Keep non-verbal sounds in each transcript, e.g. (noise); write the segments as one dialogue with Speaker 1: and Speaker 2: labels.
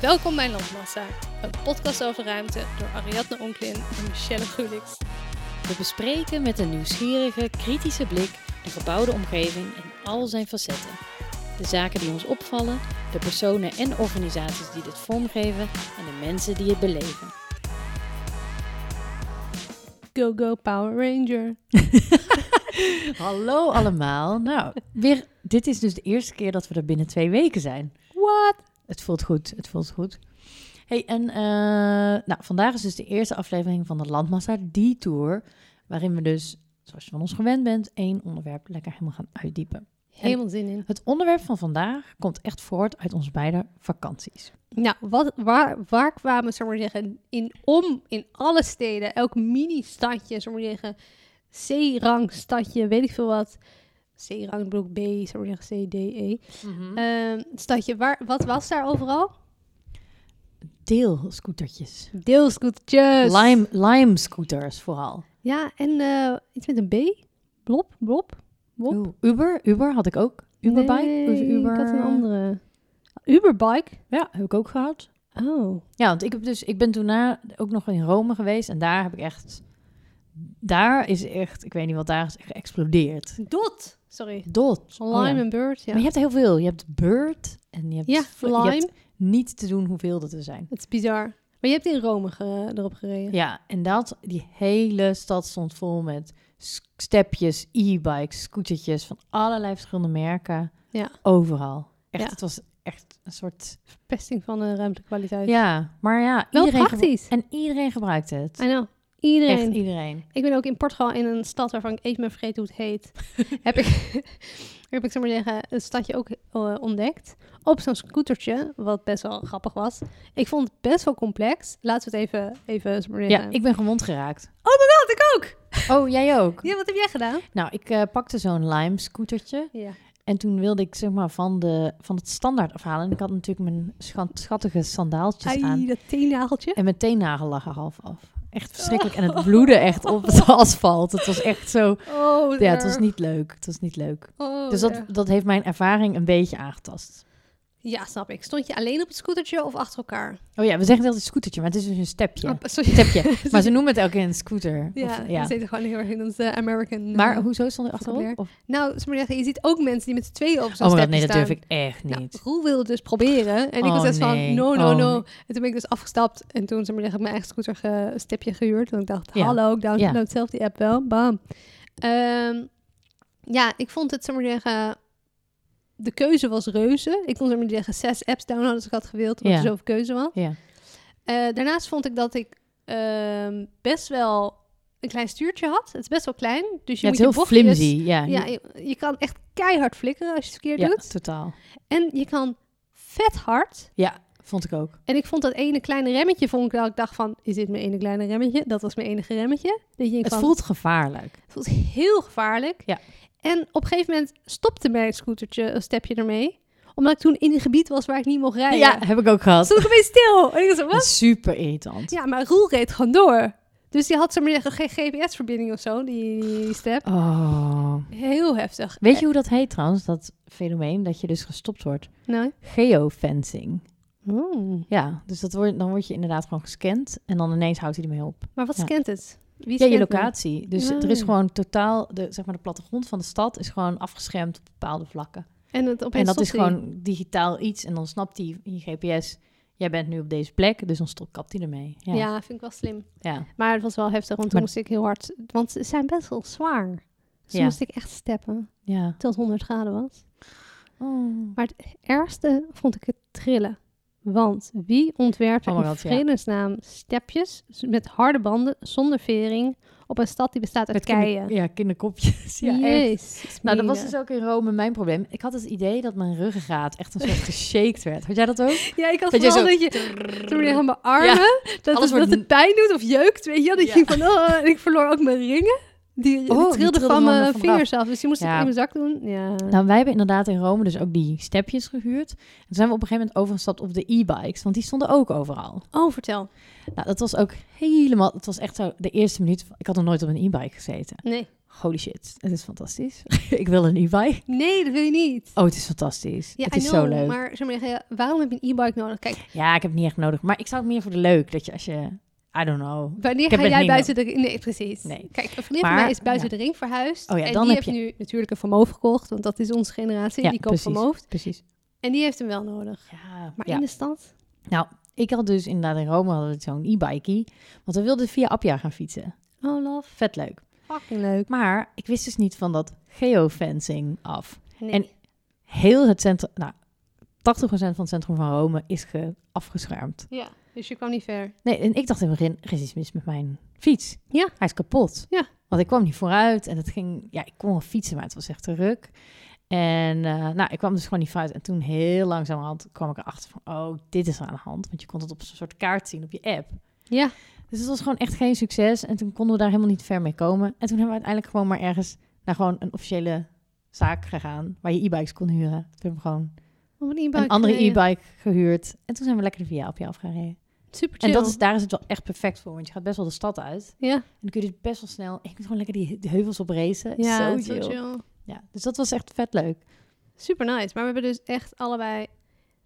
Speaker 1: Welkom bij Landmassa, een podcast over ruimte door Ariadne Onklin en Michelle Gulix.
Speaker 2: We bespreken met een nieuwsgierige, kritische blik de gebouwde omgeving in al zijn facetten. De zaken die ons opvallen, de personen en organisaties die dit vormgeven en de mensen die het beleven.
Speaker 1: Go, go, Power Ranger.
Speaker 2: Hallo allemaal. Nou, weer, dit is dus de eerste keer dat we er binnen twee weken zijn.
Speaker 1: What?
Speaker 2: Het voelt goed, het voelt goed. Hey, en eh, nou, vandaag is dus de eerste aflevering van de Landmassa Die Tour, waarin we dus, zoals je van ons gewend bent, één onderwerp lekker helemaal gaan uitdiepen.
Speaker 1: Helemaal zin in.
Speaker 2: Het onderwerp van vandaag komt echt voort uit onze beide vakanties.
Speaker 1: Nou, wat, waar, waar kwamen, zullen we maar zeggen, in om in alle steden, elk mini-stadje, zullen we maar zeggen, C-rang stadje, weet ik veel wat. C-rang, ik bedoel B, zullen we maar zeggen, C, D, E.
Speaker 2: Eh,
Speaker 1: Ehm, stadje, waar, wat was daar overal?
Speaker 2: Deelscootertjes.
Speaker 1: Deelscootertjes.
Speaker 2: Lime, lime scooters vooral.
Speaker 1: Ja, en eh, iets met een B? Blob, blob, blob.
Speaker 2: Oeh, Uber, Uber had ik ook. Uberbike? Of
Speaker 1: Nee,
Speaker 2: Uber...
Speaker 1: ik had een andere. Uberbike?
Speaker 2: Ja, heb ik ook gehad.
Speaker 1: Oh.
Speaker 2: Ja, want ik, heb dus, ik ben toen na ook nog in Rome geweest en daar heb ik echt... Daar is echt, ik weet niet wat daar is, geëxplodeerd.
Speaker 1: Dot. Sorry.
Speaker 2: Dot.
Speaker 1: Lime
Speaker 2: Oh ja.
Speaker 1: en Bird, ja.
Speaker 2: Maar je hebt heel veel. Je hebt Bird en je hebt,
Speaker 1: ja,
Speaker 2: fl- je
Speaker 1: Lime.
Speaker 2: hebt niet te doen hoeveel dat er zijn.
Speaker 1: Het is bizar. Maar je hebt in Rome ge- erop gereden.
Speaker 2: Ja, en dat, die hele stad stond vol met s- stepjes, e-bikes, scootertjes van allerlei verschillende merken.
Speaker 1: Ja.
Speaker 2: Overal. Echt,
Speaker 1: Ja.
Speaker 2: het was echt een soort...
Speaker 1: Pesting van de ruimtekwaliteit.
Speaker 2: Ja, maar ja.
Speaker 1: Wel
Speaker 2: iedereen gebru-
Speaker 1: praktisch.
Speaker 2: En iedereen gebruikt het.
Speaker 1: I know. Iedereen.
Speaker 2: Echt iedereen.
Speaker 1: Ik ben ook in Portugal in een stad waarvan ik even ben vergeten hoe het
Speaker 2: (laughs)
Speaker 1: heet. heb ik, (laughs) heb ik zo maar zeggen, een stadje ook eh, ontdekt. Op zo'n scootertje, wat best wel grappig was. Ik vond het best wel complex. Laten we het even, even zo maar
Speaker 2: Ja,
Speaker 1: zeggen.
Speaker 2: ik ben gewond geraakt.
Speaker 1: Oh my god, ik ook!
Speaker 2: Oh, jij ook?
Speaker 1: (laughs) Ja, wat heb jij gedaan?
Speaker 2: Nou, ik eh, pakte zo'n Lime scootertje.
Speaker 1: Ja.
Speaker 2: En toen wilde ik zeg maar van, de, van het standaard afhalen. En ik had natuurlijk mijn schat- schattige sandaaltjes aan.
Speaker 1: Ai, dat teennageltje.
Speaker 2: En mijn teenagel lag er half af. Echt verschrikkelijk. En het bloedde echt op het (laughs) asfalt. Het was echt zo...
Speaker 1: Oh, wat
Speaker 2: Ja, het was
Speaker 1: erg.
Speaker 2: niet leuk. Het was niet leuk.
Speaker 1: Oh,
Speaker 2: Dus
Speaker 1: wat
Speaker 2: dat,
Speaker 1: erg.
Speaker 2: dat heeft mijn ervaring een beetje aangetast.
Speaker 1: Ja, snap ik. Stond je alleen op het scootertje of achter elkaar?
Speaker 2: Oh ja, we zeggen dat het scootertje, maar het is dus een stepje.
Speaker 1: Oh, sorry. (laughs)
Speaker 2: stepje. Maar ze noemen het elke keer een scooter.
Speaker 1: Ja,
Speaker 2: Of-
Speaker 1: dat zit gewoon heel erg in ons eh, American... eh,
Speaker 2: Maar hoezo stond er
Speaker 1: Vocabulaire.
Speaker 2: achterop? Of-
Speaker 1: Nou, zeg maar zeggen, je ziet ook mensen die met z'n tweeën op zo'n
Speaker 2: Oh my Oh god,
Speaker 1: stepje
Speaker 2: nee, dat
Speaker 1: staan.
Speaker 2: durf ik echt
Speaker 1: Nou,
Speaker 2: niet.
Speaker 1: Roel wilde het dus proberen. En ik was
Speaker 2: Oh,
Speaker 1: echt
Speaker 2: nee.
Speaker 1: van, no, no,
Speaker 2: Oh,
Speaker 1: no.
Speaker 2: nee.
Speaker 1: En toen ben ik dus afgestapt. En toen zeg maar, heb ik mijn eigen scooter ge- een stepje gehuurd. Want ik dacht,
Speaker 2: Ja.
Speaker 1: hallo, ik download
Speaker 2: Ja.
Speaker 1: zelf die app wel. Bam. Ehm, ja, ik vond het, zeg maar zeggen... De keuze was reuze. Ik kon zeg maar zeggen zes apps downloaden als ik had gewild. Omdat er
Speaker 2: Ja.
Speaker 1: zoveel keuze was.
Speaker 2: Ja.
Speaker 1: Eh, daarnaast vond ik dat ik ehm, best wel een klein stuurtje had. Het is best wel klein. Dus je moet
Speaker 2: Ja, het is heel
Speaker 1: je bochtjes-
Speaker 2: flimsy. Ja,
Speaker 1: Ja, je, je kan echt keihard flikkeren als je het verkeerd
Speaker 2: Ja,
Speaker 1: doet.
Speaker 2: totaal.
Speaker 1: En je kan vet hard.
Speaker 2: Ja, vond ik ook.
Speaker 1: En ik vond dat ene kleine remmetje, vond ik dat ik dacht van, is dit mijn ene kleine remmetje? Dat was mijn enige remmetje. Dat je denkt
Speaker 2: Het
Speaker 1: van,
Speaker 2: voelt gevaarlijk.
Speaker 1: het voelt heel gevaarlijk.
Speaker 2: Ja.
Speaker 1: En op een gegeven moment stopte mijn scootertje, een stepje ermee. Omdat ik toen in een gebied was waar ik niet mocht rijden.
Speaker 2: Ja, heb ik ook gehad.
Speaker 1: Stond ik opeens stil. En ik dacht, zo, wat?
Speaker 2: Super irritant.
Speaker 1: Ja, maar Roel reed gewoon door. Dus die had zo'n maar geen GPS-verbinding of zo, die, die step.
Speaker 2: Oh.
Speaker 1: Heel heftig.
Speaker 2: Weet je hoe dat heet trouwens, dat fenomeen dat je dus gestopt wordt?
Speaker 1: Nou.
Speaker 2: Geofencing. Ja, dus dat wordt, dan word je inderdaad gewoon gescand en dan ineens houdt hij ermee op.
Speaker 1: Maar wat
Speaker 2: Ja.
Speaker 1: scant het? Wie
Speaker 2: Ja, je
Speaker 1: scant me?
Speaker 2: locatie. Dus
Speaker 1: Ja.
Speaker 2: er is gewoon totaal, de, zeg maar de plattegrond van de stad is gewoon afgeschermd op bepaalde vlakken.
Speaker 1: En, het opeens
Speaker 2: En dat is
Speaker 1: stopte hij.
Speaker 2: gewoon digitaal iets en dan snapt hij in je GPS, jij bent nu op deze plek, dus dan stopt, kapt hij ermee. Ja.
Speaker 1: Ja.
Speaker 2: ja.
Speaker 1: vind ik wel slim. Maar het was wel heftig, want toen
Speaker 2: Maar-
Speaker 1: moest ik heel hard... Want ze zijn best wel zwaar. Dus toen
Speaker 2: Ja.
Speaker 1: moest ik echt steppen,
Speaker 2: Ja.
Speaker 1: tot 100 graden was.
Speaker 2: Oh.
Speaker 1: Maar het ergste vond ik het trillen. Want wie ontwerpt
Speaker 2: Oh
Speaker 1: er
Speaker 2: my
Speaker 1: in
Speaker 2: God, ja.
Speaker 1: vredesnaam stepjes z- met harde banden, zonder vering, op een stad die bestaat uit
Speaker 2: Met kinder-
Speaker 1: keien?
Speaker 2: ja, kinderkopjes. (laughs) Ja, echt.
Speaker 1: Jezus,
Speaker 2: Nou, dat was
Speaker 1: mina.
Speaker 2: dus ook in Rome mijn probleem. Ik had dus het idee dat mijn ruggengraat echt een soort geshaked werd. Had jij dat ook?
Speaker 1: Ja, ik had
Speaker 2: Dat je
Speaker 1: vooral
Speaker 2: zo-
Speaker 1: dat je... Toen weer aan mijn armen, dat,
Speaker 2: alles
Speaker 1: het, dat
Speaker 2: wordt-
Speaker 1: het pijn doet of jeukt, weet je wel. Dat je
Speaker 2: Ja.
Speaker 1: ging van, oh, en ik verloor ook mijn ringen. Die, die
Speaker 2: Oh, die
Speaker 1: trilden
Speaker 2: trilden
Speaker 1: van
Speaker 2: van me
Speaker 1: mijn
Speaker 2: vanaf.
Speaker 1: vingers af, dus die moest ik
Speaker 2: Ja.
Speaker 1: in mijn zak doen. Ja.
Speaker 2: Nou, wij hebben inderdaad in Rome dus ook die stepjes gehuurd. En toen zijn we op een gegeven moment overgestapt op de e-bikes, want die stonden ook overal.
Speaker 1: oh, vertel.
Speaker 2: Nou, dat was ook helemaal, het was echt zo de eerste minuut. van- Ik had nog nooit op een e-bike gezeten.
Speaker 1: Nee.
Speaker 2: Holy shit, het is fantastisch. (laughs) ik wil er niet bij.
Speaker 1: Nee, dat wil je niet.
Speaker 2: Oh, het is fantastisch.
Speaker 1: Ja,
Speaker 2: het
Speaker 1: I
Speaker 2: is
Speaker 1: know,
Speaker 2: zo leuk.
Speaker 1: Maar zo maar zeggen, waarom heb je een e-bike nodig? Kijk,
Speaker 2: Ja, ik heb het niet echt nodig. Maar ik zou het meer voor de leuk. Dat je als je... I don't know.
Speaker 1: wanneer
Speaker 2: Ik
Speaker 1: ga
Speaker 2: heb het
Speaker 1: jij
Speaker 2: niet
Speaker 1: buiten de ring? Nee, precies.
Speaker 2: Nee.
Speaker 1: Kijk, een vriendin van
Speaker 2: Maar-
Speaker 1: mij is buiten
Speaker 2: ja.
Speaker 1: de ring verhuisd.
Speaker 2: Oh ja,
Speaker 1: en
Speaker 2: dan
Speaker 1: die
Speaker 2: heb
Speaker 1: heeft nu natuurlijk een vermogen gekocht, want dat is onze generatie.
Speaker 2: Ja,
Speaker 1: die koopt
Speaker 2: precies.
Speaker 1: vermogen.
Speaker 2: Precies.
Speaker 1: En die heeft hem wel nodig.
Speaker 2: Ja,
Speaker 1: Maar
Speaker 2: ja.
Speaker 1: in de stad?
Speaker 2: Nou, ik had dus inderdaad in Rome hadden we zo'n e-bikey. Want we wilden via Appia gaan fietsen.
Speaker 1: Oh, love.
Speaker 2: Vet leuk.
Speaker 1: Fucking leuk.
Speaker 2: Maar ik wist dus niet van dat geofencing af.
Speaker 1: Nee.
Speaker 2: En- Heel het centrum... Nou, 80% van het centrum van Rome is ge- afgeschermd.
Speaker 1: ja, dus je kwam niet ver.
Speaker 2: Nee, en ik dacht in het begin, er is iets mis met mijn fiets.
Speaker 1: Ja.
Speaker 2: Hij is kapot.
Speaker 1: Ja.
Speaker 2: Want ik kwam niet vooruit en het ging... Ja, ik kon wel fietsen, maar het was echt een ruk. En eh, nou, ik kwam dus gewoon niet vooruit. En toen heel langzamerhand kwam ik erachter van... Oh, dit is er aan de hand. Want je kon het op zo'n soort kaart zien op je app.
Speaker 1: Ja.
Speaker 2: Dus het was gewoon echt geen succes. En toen konden we daar helemaal niet ver mee komen. En toen hebben we uiteindelijk gewoon maar ergens... naar gewoon een officiële zaak gegaan... waar je e-bikes kon huren. Toen hebben we gewoon
Speaker 1: Om een
Speaker 2: een andere e-bike gehuurd. En toen zijn we lekker de via op je afgereden.
Speaker 1: Super
Speaker 2: En
Speaker 1: chill.
Speaker 2: dat is, daar is het wel echt perfect voor, want je gaat best wel de stad uit.
Speaker 1: Ja,
Speaker 2: En dan kun je dus best wel snel... Je kunt gewoon lekker die, die heuvels oprezen.
Speaker 1: ja
Speaker 2: zo
Speaker 1: het is wel
Speaker 2: chill. Ja, dus dat was echt vet leuk.
Speaker 1: Super nice. Maar we hebben dus echt allebei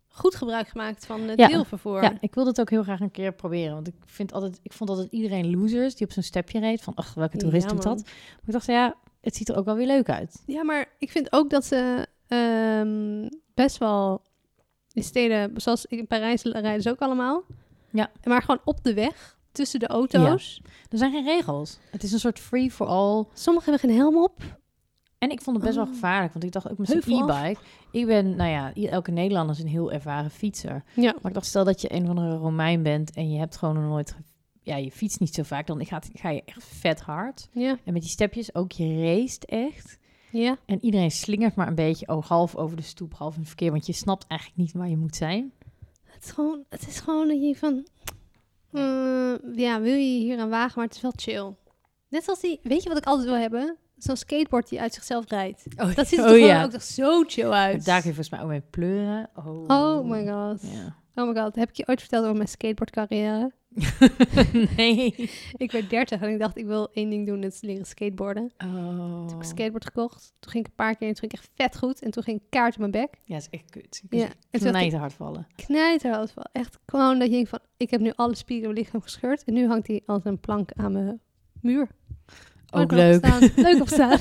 Speaker 1: goed gebruik gemaakt van het
Speaker 2: Ja.
Speaker 1: deelvervoer.
Speaker 2: Ja, ik wilde het ook heel graag een keer proberen. Want ik, vind altijd, ik vond altijd iedereen losers die op zo'n stepje reed. Van, ach, welke toerist
Speaker 1: Ja,
Speaker 2: doet
Speaker 1: man.
Speaker 2: dat? Maar ik dacht, ja, het ziet er ook wel weer leuk uit.
Speaker 1: Ja, maar ik vind ook dat ze ehm, best wel in steden, zoals in Parijs rijden ze ook allemaal.
Speaker 2: Ja.
Speaker 1: Maar gewoon op de weg, tussen de auto's.
Speaker 2: Er zijn geen regels. Het is een soort free-for-all.
Speaker 1: Sommigen hebben geen helm op.
Speaker 2: En ik vond het best wel
Speaker 1: Oh.
Speaker 2: gevaarlijk. Want ik dacht ook met zo'n
Speaker 1: Heuvel af.
Speaker 2: e-bike... Ik ben, nou ja, i- elke Nederlander is een heel ervaren fietser.
Speaker 1: Ja.
Speaker 2: Maar ik dacht, stel dat je een of andere Romein bent en je hebt gewoon nog nooit... ge- Ja, je fietst niet zo vaak, dan gaat, ga je echt vet hard.
Speaker 1: Ja.
Speaker 2: En met die stepjes ook, je racet echt.
Speaker 1: Ja.
Speaker 2: En iedereen slingert maar een beetje, oh, half over de stoep, half in het verkeer. Want je snapt eigenlijk niet waar je moet zijn.
Speaker 1: Het is gewoon, het is gewoon dat je van... eh, ja, wil je je hier aan wagen, maar het is wel chill. Net als die... Weet je wat ik altijd wil hebben? Zo'n skateboard die uit zichzelf rijdt.
Speaker 2: (laughs) Oh,
Speaker 1: Dat ziet er
Speaker 2: oh,
Speaker 1: toch
Speaker 2: ja.
Speaker 1: ook echt zo chill uit.
Speaker 2: Daar kun je volgens mij ook mee pleuren. Oh,
Speaker 1: Oh my god.
Speaker 2: Ja. (laughs)
Speaker 1: Oh my god. Heb ik je ooit verteld over mijn skateboardcarrière?
Speaker 2: nee.
Speaker 1: Ik werd 30 en ik dacht, ik wil één ding doen, dat is leren skateboarden.
Speaker 2: Oh.
Speaker 1: Toen heb ik een skateboard gekocht. Toen ging ik een paar keer en toen ging ik echt vet goed. En toen ging ik kaart op mijn bek.
Speaker 2: Ja, is echt kut.
Speaker 1: Ja.
Speaker 2: Ja.
Speaker 1: En
Speaker 2: Ik
Speaker 1: toen
Speaker 2: kan
Speaker 1: dacht
Speaker 2: niet
Speaker 1: ik,
Speaker 2: te hard vallen.
Speaker 1: knijterhard wel. Echt gewoon dat je denkt van, ik heb nu alle spieren in mijn lichaam gescheurd. En nu hangt die als een plank aan mijn muur. Oh,
Speaker 2: Ook
Speaker 1: ik ben
Speaker 2: leuk.
Speaker 1: opgestaan. Leuk
Speaker 2: (laughs)
Speaker 1: opstaan.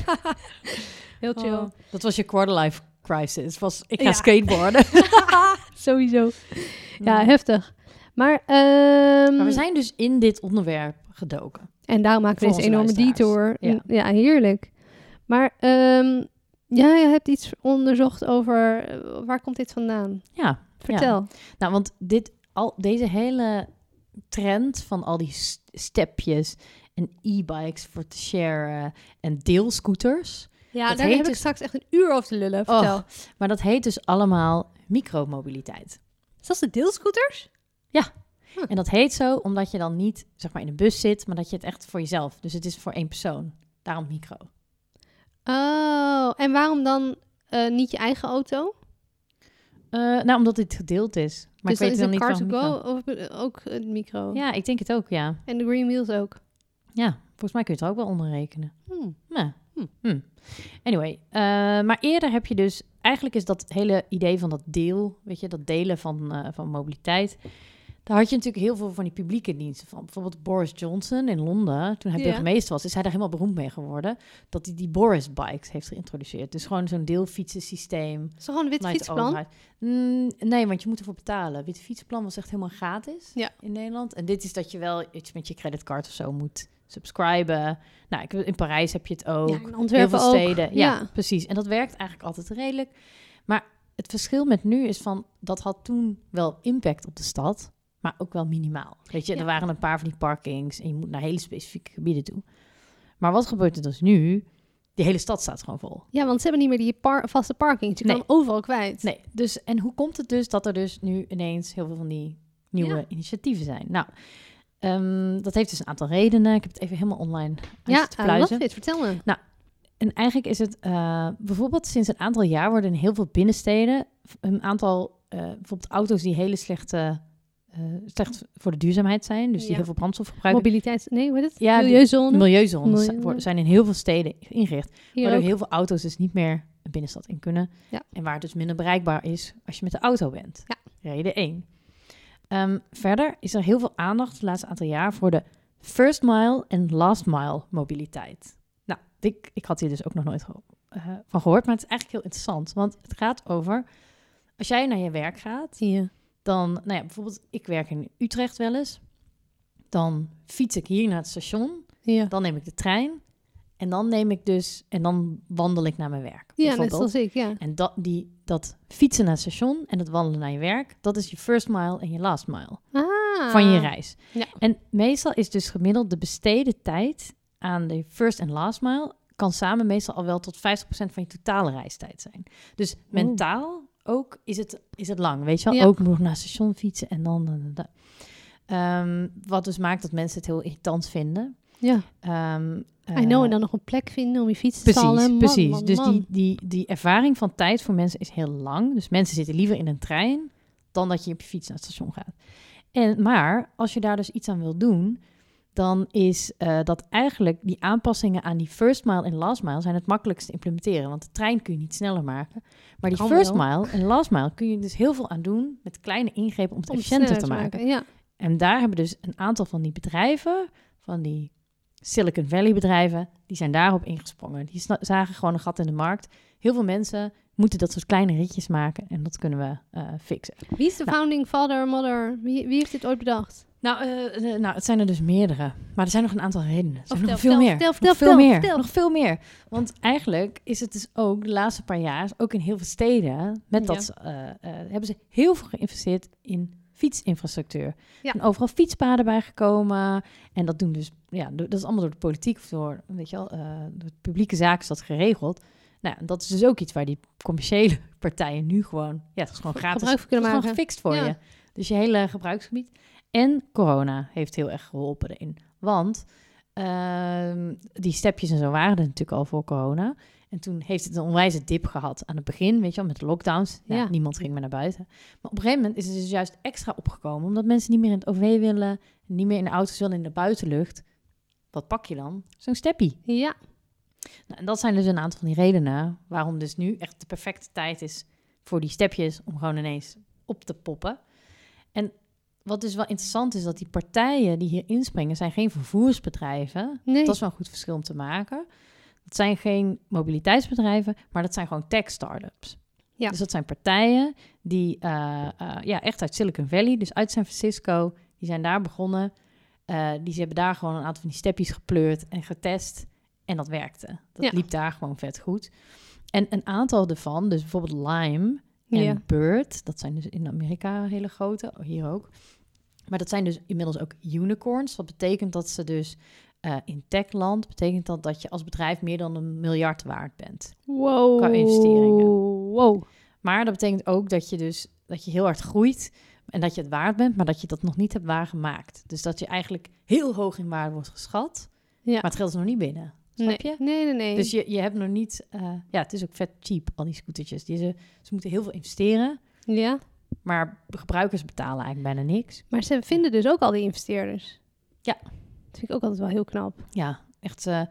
Speaker 1: Heel chill.
Speaker 2: Oh, dat was je quarterlife crisis. Was, ik ga
Speaker 1: Ja.
Speaker 2: skateboarden. Oh.
Speaker 1: Sowieso. (laughs) Ja, heftig. Maar, ehm,
Speaker 2: Mhm. Maar we zijn dus in dit onderwerp gedoken.
Speaker 1: En daarom maken we
Speaker 2: Voor
Speaker 1: deze
Speaker 2: onze
Speaker 1: enorme detour.
Speaker 2: luisteraars,
Speaker 1: Ja. heerlijk. Maar ehm, jij hebt iets onderzocht over eh, waar komt dit vandaan?
Speaker 2: Ja.
Speaker 1: Vertel.
Speaker 2: Nou, want dit, al, deze hele trend van al die s- stepjes en e-bikes voor te sharen en deelscooters.
Speaker 1: Ja,
Speaker 2: Dat
Speaker 1: daar
Speaker 2: heet
Speaker 1: heb ik
Speaker 2: dus-
Speaker 1: straks echt een uur over te lullen.
Speaker 2: Oh.
Speaker 1: Vertel.
Speaker 2: Maar dat heet dus allemaal micromobiliteit.
Speaker 1: Is dat de deelscooters?
Speaker 2: En dat heet zo omdat je dan niet zeg maar in de bus zit, maar dat je het echt voor jezelf. Dus het is voor één persoon. Daarom micro.
Speaker 1: Oh, en waarom dan eh, niet je eigen auto?
Speaker 2: Eh, nou, omdat dit gedeeld is. Maar
Speaker 1: dus
Speaker 2: ik weet
Speaker 1: dat
Speaker 2: dan
Speaker 1: is
Speaker 2: niet
Speaker 1: een car
Speaker 2: van
Speaker 1: to
Speaker 2: micro.
Speaker 1: go of eh, ook een micro.
Speaker 2: Ja, ik denk het ook, ja.
Speaker 1: En de green wheels ook.
Speaker 2: Ja, volgens mij kun je het er ook wel onder rekenen.
Speaker 1: Hmm.
Speaker 2: Nou,
Speaker 1: Hm.
Speaker 2: hm. Anyway, eh, maar eerder heb je dus... Eigenlijk is dat hele idee van dat deel, weet je, dat delen van, eh, van mobiliteit... Daar had je natuurlijk heel veel van die publieke diensten van. Bijvoorbeeld Boris Johnson in Londen, toen hij
Speaker 1: Ja.
Speaker 2: burgemeester was, is hij daar helemaal beroemd mee geworden. Dat hij die Boris Bikes heeft geïntroduceerd. Dus gewoon zo'n deelfietsensysteem.
Speaker 1: Is dat gewoon een wit
Speaker 2: vanuit de
Speaker 1: fietsplan?
Speaker 2: overheid. Mm, nee, want je moet ervoor betalen. Witte fietsplan was echt helemaal gratis
Speaker 1: Ja.
Speaker 2: in Nederland. En dit is dat je wel iets met je creditcard of zo moet subscriben. Nou, ik, in Parijs heb je het ook.
Speaker 1: Ja, in
Speaker 2: Heel
Speaker 1: Antwerpen
Speaker 2: veel
Speaker 1: ook.
Speaker 2: steden. Ja,
Speaker 1: Ja.
Speaker 2: precies. En dat werkt eigenlijk altijd redelijk. Maar het verschil met nu is van dat had toen wel impact op de stad, maar ook wel minimaal. Weet je,
Speaker 1: Ja.
Speaker 2: er waren een paar van die parkings en je moet naar hele specifieke gebieden toe. Maar wat gebeurt er dus nu? Die hele stad staat gewoon vol.
Speaker 1: Ja, want ze hebben niet meer die par- vaste parking. Dus je
Speaker 2: Nee.
Speaker 1: kan hem overal kwijt.
Speaker 2: Nee, dus en hoe komt het dus dat er dus nu ineens heel veel van die nieuwe initiatieven zijn? Nou, ehm, dat heeft dus een aantal redenen. Ik heb het even helemaal online ja,
Speaker 1: Ja,
Speaker 2: te
Speaker 1: I love
Speaker 2: pluizen.
Speaker 1: it. Vertel me.
Speaker 2: En eigenlijk is het eh, bijvoorbeeld sinds een aantal jaar worden in heel veel binnensteden een aantal eh, bijvoorbeeld auto's die hele slechte eh, eh, slecht voor de duurzaamheid zijn, dus die
Speaker 1: Ja.
Speaker 2: heel veel brandstof gebruiken.
Speaker 1: Mobiliteit, nee, hoe heet het?
Speaker 2: Ja, de-
Speaker 1: Milieuzone.
Speaker 2: Milieuzones
Speaker 1: Milieu-
Speaker 2: zijn- worden- zijn in heel veel steden ingericht,
Speaker 1: Hier
Speaker 2: waardoor
Speaker 1: ook.
Speaker 2: heel veel auto's dus niet meer een binnenstad in kunnen.
Speaker 1: Ja.
Speaker 2: En waar het dus minder bereikbaar is als je met de auto bent. Reden 1. verder is er heel veel aandacht de laatste aantal jaar voor de first mile en last mile mobiliteit. Nou, ik, ik had hier dus ook nog nooit geho- eh, van gehoord, maar het is eigenlijk heel interessant. Want het gaat over, als jij naar je werk gaat,
Speaker 1: Ja.
Speaker 2: dan, nou ja, bijvoorbeeld, ik werk in Utrecht wel eens. Dan fiets ik hier naar het station.
Speaker 1: Ja.
Speaker 2: Dan neem ik de trein. En dan neem ik dus, en dan wandel ik naar mijn werk.
Speaker 1: ja, net
Speaker 2: bijvoorbeeld.
Speaker 1: zoals ik, ja.
Speaker 2: En dat, die, dat fietsen naar het station en het wandelen naar je werk, dat is je first mile en je last mile
Speaker 1: Ah.
Speaker 2: van je reis.
Speaker 1: Ja.
Speaker 2: En meestal is dus gemiddeld de besteden tijd aan de first en last mile, kan samen meestal al wel tot 50% van je totale reistijd zijn. Dus mentaal ook is het, is het lang, weet je wel?
Speaker 1: Ja.
Speaker 2: Ook nog naar het station fietsen en dan... dan, dan, dan. Ehm, wat dus maakt dat mensen het heel irritant vinden.
Speaker 1: Ja.
Speaker 2: Ehm
Speaker 1: I know, en
Speaker 2: eh,
Speaker 1: dan nog een plek vinden om je fiets te stallen.
Speaker 2: Precies,
Speaker 1: Man,
Speaker 2: precies.
Speaker 1: man,
Speaker 2: dus
Speaker 1: man.
Speaker 2: Die, die, die ervaring van tijd voor mensen is heel lang. Dus mensen zitten liever in een trein dan dat je op je fiets naar het station gaat. En, maar als je daar dus iets aan wil doen, dan is eh, dat eigenlijk die aanpassingen aan die first mile en last mile zijn het makkelijkst te implementeren. Want de trein kun je niet sneller maken. Maar die
Speaker 1: Kan
Speaker 2: first
Speaker 1: wel.
Speaker 2: mile en last mile kun je dus heel veel aan doen met kleine ingrepen om het
Speaker 1: Om het
Speaker 2: efficiënter
Speaker 1: sneller
Speaker 2: te maken.
Speaker 1: Ja.
Speaker 2: En daar hebben dus een aantal van die bedrijven, van die Silicon Valley bedrijven, die zijn daarop ingesprongen. Die sna- zagen gewoon een gat in de markt. Heel veel mensen moeten dat soort kleine ritjes maken en dat kunnen we eh, fixen.
Speaker 1: Wie is de
Speaker 2: Nou.
Speaker 1: founding father, mother? Wie, wie heeft dit ooit bedacht?
Speaker 2: Nou, eh, eh, nou, het zijn er dus meerdere. Maar er zijn nog een aantal redenen. Er zijn
Speaker 1: vertel,
Speaker 2: nog veel
Speaker 1: Oh, vertel,
Speaker 2: meer.
Speaker 1: vertel, vertel,
Speaker 2: Nog veel
Speaker 1: vertel,
Speaker 2: meer.
Speaker 1: vertel.
Speaker 2: Nog veel meer. Want eigenlijk is het dus ook de laatste paar jaar, ook in heel veel steden, met
Speaker 1: Ja.
Speaker 2: dat eh, eh, hebben ze heel veel geïnvesteerd in fietsinfrastructuur.
Speaker 1: Ja.
Speaker 2: En overal fietspaden bijgekomen. En dat doen dus, ja, do- dat is allemaal door de politiek of door, weet je wel, eh, door de publieke zaak is dat geregeld. Nou, en dat is dus ook iets waar die commerciële partijen nu gewoon, ja, het is gewoon gratis.
Speaker 1: Gebruik van kunnen
Speaker 2: Het
Speaker 1: maken.
Speaker 2: is gewoon gefixt voor
Speaker 1: Ja.
Speaker 2: je. Dus je hele gebruiksgebied. En corona heeft heel erg geholpen erin. Want ehm, die stepjes en zo waren er natuurlijk al voor corona. En toen heeft het een onwijze dip gehad aan het begin, weet je wel, met de lockdowns. Ja,
Speaker 1: Ja.
Speaker 2: Niemand ging meer naar buiten. Maar op een gegeven moment is het dus juist extra opgekomen. Omdat mensen niet meer in het OV willen, niet meer in de auto's willen, in de buitenlucht. Wat pak je dan? Zo'n steppie.
Speaker 1: Ja.
Speaker 2: Nou, en dat zijn dus een aantal van die redenen waarom dus nu echt de perfecte tijd is voor die stepjes om gewoon ineens op te poppen. En wat dus wel interessant is, dat die partijen die hier inspringen zijn geen vervoersbedrijven.
Speaker 1: Nee.
Speaker 2: Dat is wel een goed verschil om te maken. Dat zijn geen mobiliteitsbedrijven, maar dat zijn gewoon tech-startups.
Speaker 1: Ja.
Speaker 2: Dus dat zijn partijen die eh, eh, ja, echt uit Silicon Valley, dus uit San Francisco, die zijn daar begonnen. Eh, die ze hebben daar gewoon een aantal van die stepjes gepleurd en getest. En dat werkte. Dat
Speaker 1: Ja.
Speaker 2: liep daar gewoon vet goed. En een aantal ervan, dus bijvoorbeeld Lime, en
Speaker 1: ja.
Speaker 2: Bird, dat zijn dus in Amerika hele grote, oh, hier ook. Maar dat zijn dus inmiddels ook unicorns. Wat betekent dat ze dus eh, in techland, betekent dat dat je als bedrijf meer dan een miljard waard bent.
Speaker 1: Wow.
Speaker 2: Qua investeringen.
Speaker 1: Wow.
Speaker 2: Maar dat betekent ook dat je dus dat je heel hard groeit en dat je het waard bent, maar dat je dat nog niet hebt waargemaakt. Dus dat je eigenlijk heel hoog in waarde wordt geschat,
Speaker 1: Ja.
Speaker 2: maar het geld is nog niet binnen.
Speaker 1: Nee.
Speaker 2: Snap je?
Speaker 1: Nee, nee, nee.
Speaker 2: Dus je, je hebt nog niet, eh, ja, het is ook vet cheap, al die scootertjes. Die ze, ze moeten heel veel investeren,
Speaker 1: ja.
Speaker 2: maar gebruikers betalen eigenlijk bijna niks.
Speaker 1: Maar ze vinden dus ook al die investeerders.
Speaker 2: Ja.
Speaker 1: Dat vind ik ook altijd wel heel knap.
Speaker 2: Ja, echt. eh, en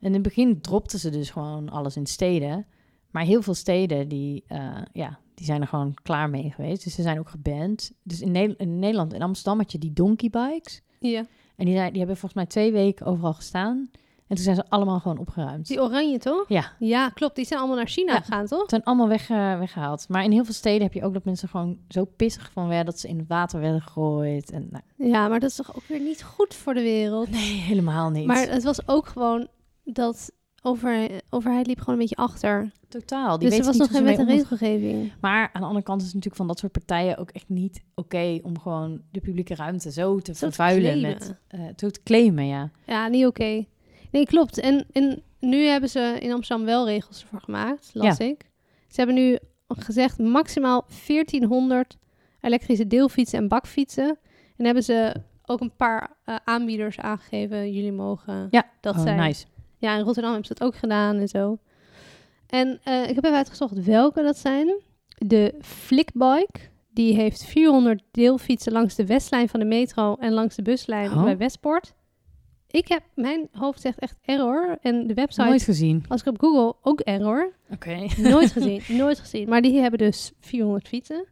Speaker 2: in het begin dropten ze dus gewoon alles in steden. Maar heel veel steden die, eh, ja, die zijn er gewoon klaar mee geweest. Dus ze zijn ook geband. Dus in, Ne- in Nederland, in Amsterdam had je die donkey bikes.
Speaker 1: Ja.
Speaker 2: En die, zijn, die hebben volgens mij twee weken overal gestaan. En toen zijn ze allemaal gewoon opgeruimd.
Speaker 1: Die oranje, toch?
Speaker 2: Ja.
Speaker 1: Ja, klopt. Die zijn allemaal naar China
Speaker 2: Ja.
Speaker 1: gegaan, toch?
Speaker 2: Het zijn allemaal weg, eh, weggehaald. Maar in heel veel steden heb je ook dat mensen gewoon zo pissig van werden... dat ze in het water werden gegooid. En, nou,
Speaker 1: Ja, maar dat is toch ook weer niet goed voor de wereld?
Speaker 2: nee, helemaal niet.
Speaker 1: Maar eh, het was ook gewoon dat over, overheid liep gewoon een beetje achter.
Speaker 2: totaal. Die
Speaker 1: dus er was
Speaker 2: weten
Speaker 1: nog geen
Speaker 2: niet hoe
Speaker 1: wet
Speaker 2: ze
Speaker 1: en
Speaker 2: mee om
Speaker 1: regelgeving.
Speaker 2: Maar aan de andere kant is het natuurlijk van dat soort partijen ook echt niet oké om gewoon de publieke ruimte zo te
Speaker 1: te
Speaker 2: vervuilen
Speaker 1: claimen.
Speaker 2: met eh, zo te claimen, ja.
Speaker 1: Ja, niet oké. Nee, klopt. En, en nu hebben ze in Amsterdam wel regels ervoor gemaakt, las ik. Ze hebben nu gezegd maximaal 1400 elektrische deelfietsen en bakfietsen. En hebben ze ook een paar eh, aanbieders aangegeven. Jullie mogen
Speaker 2: Ja.
Speaker 1: dat
Speaker 2: Oh,
Speaker 1: zijn.
Speaker 2: nice.
Speaker 1: Ja, in Rotterdam hebben ze dat ook gedaan en zo. En eh, ik heb even uitgezocht welke dat zijn. De Flickbike, die heeft 400 deelfietsen langs de westlijn van de metro en langs de buslijn
Speaker 2: Oh.
Speaker 1: bij Westpoort. Ik heb, mijn hoofd zegt echt error. En de website,
Speaker 2: Nooit gezien.
Speaker 1: als ik op Google, ook error.
Speaker 2: Oké.
Speaker 1: Nooit gezien, nooit gezien. Maar die hebben dus 400 fietsen.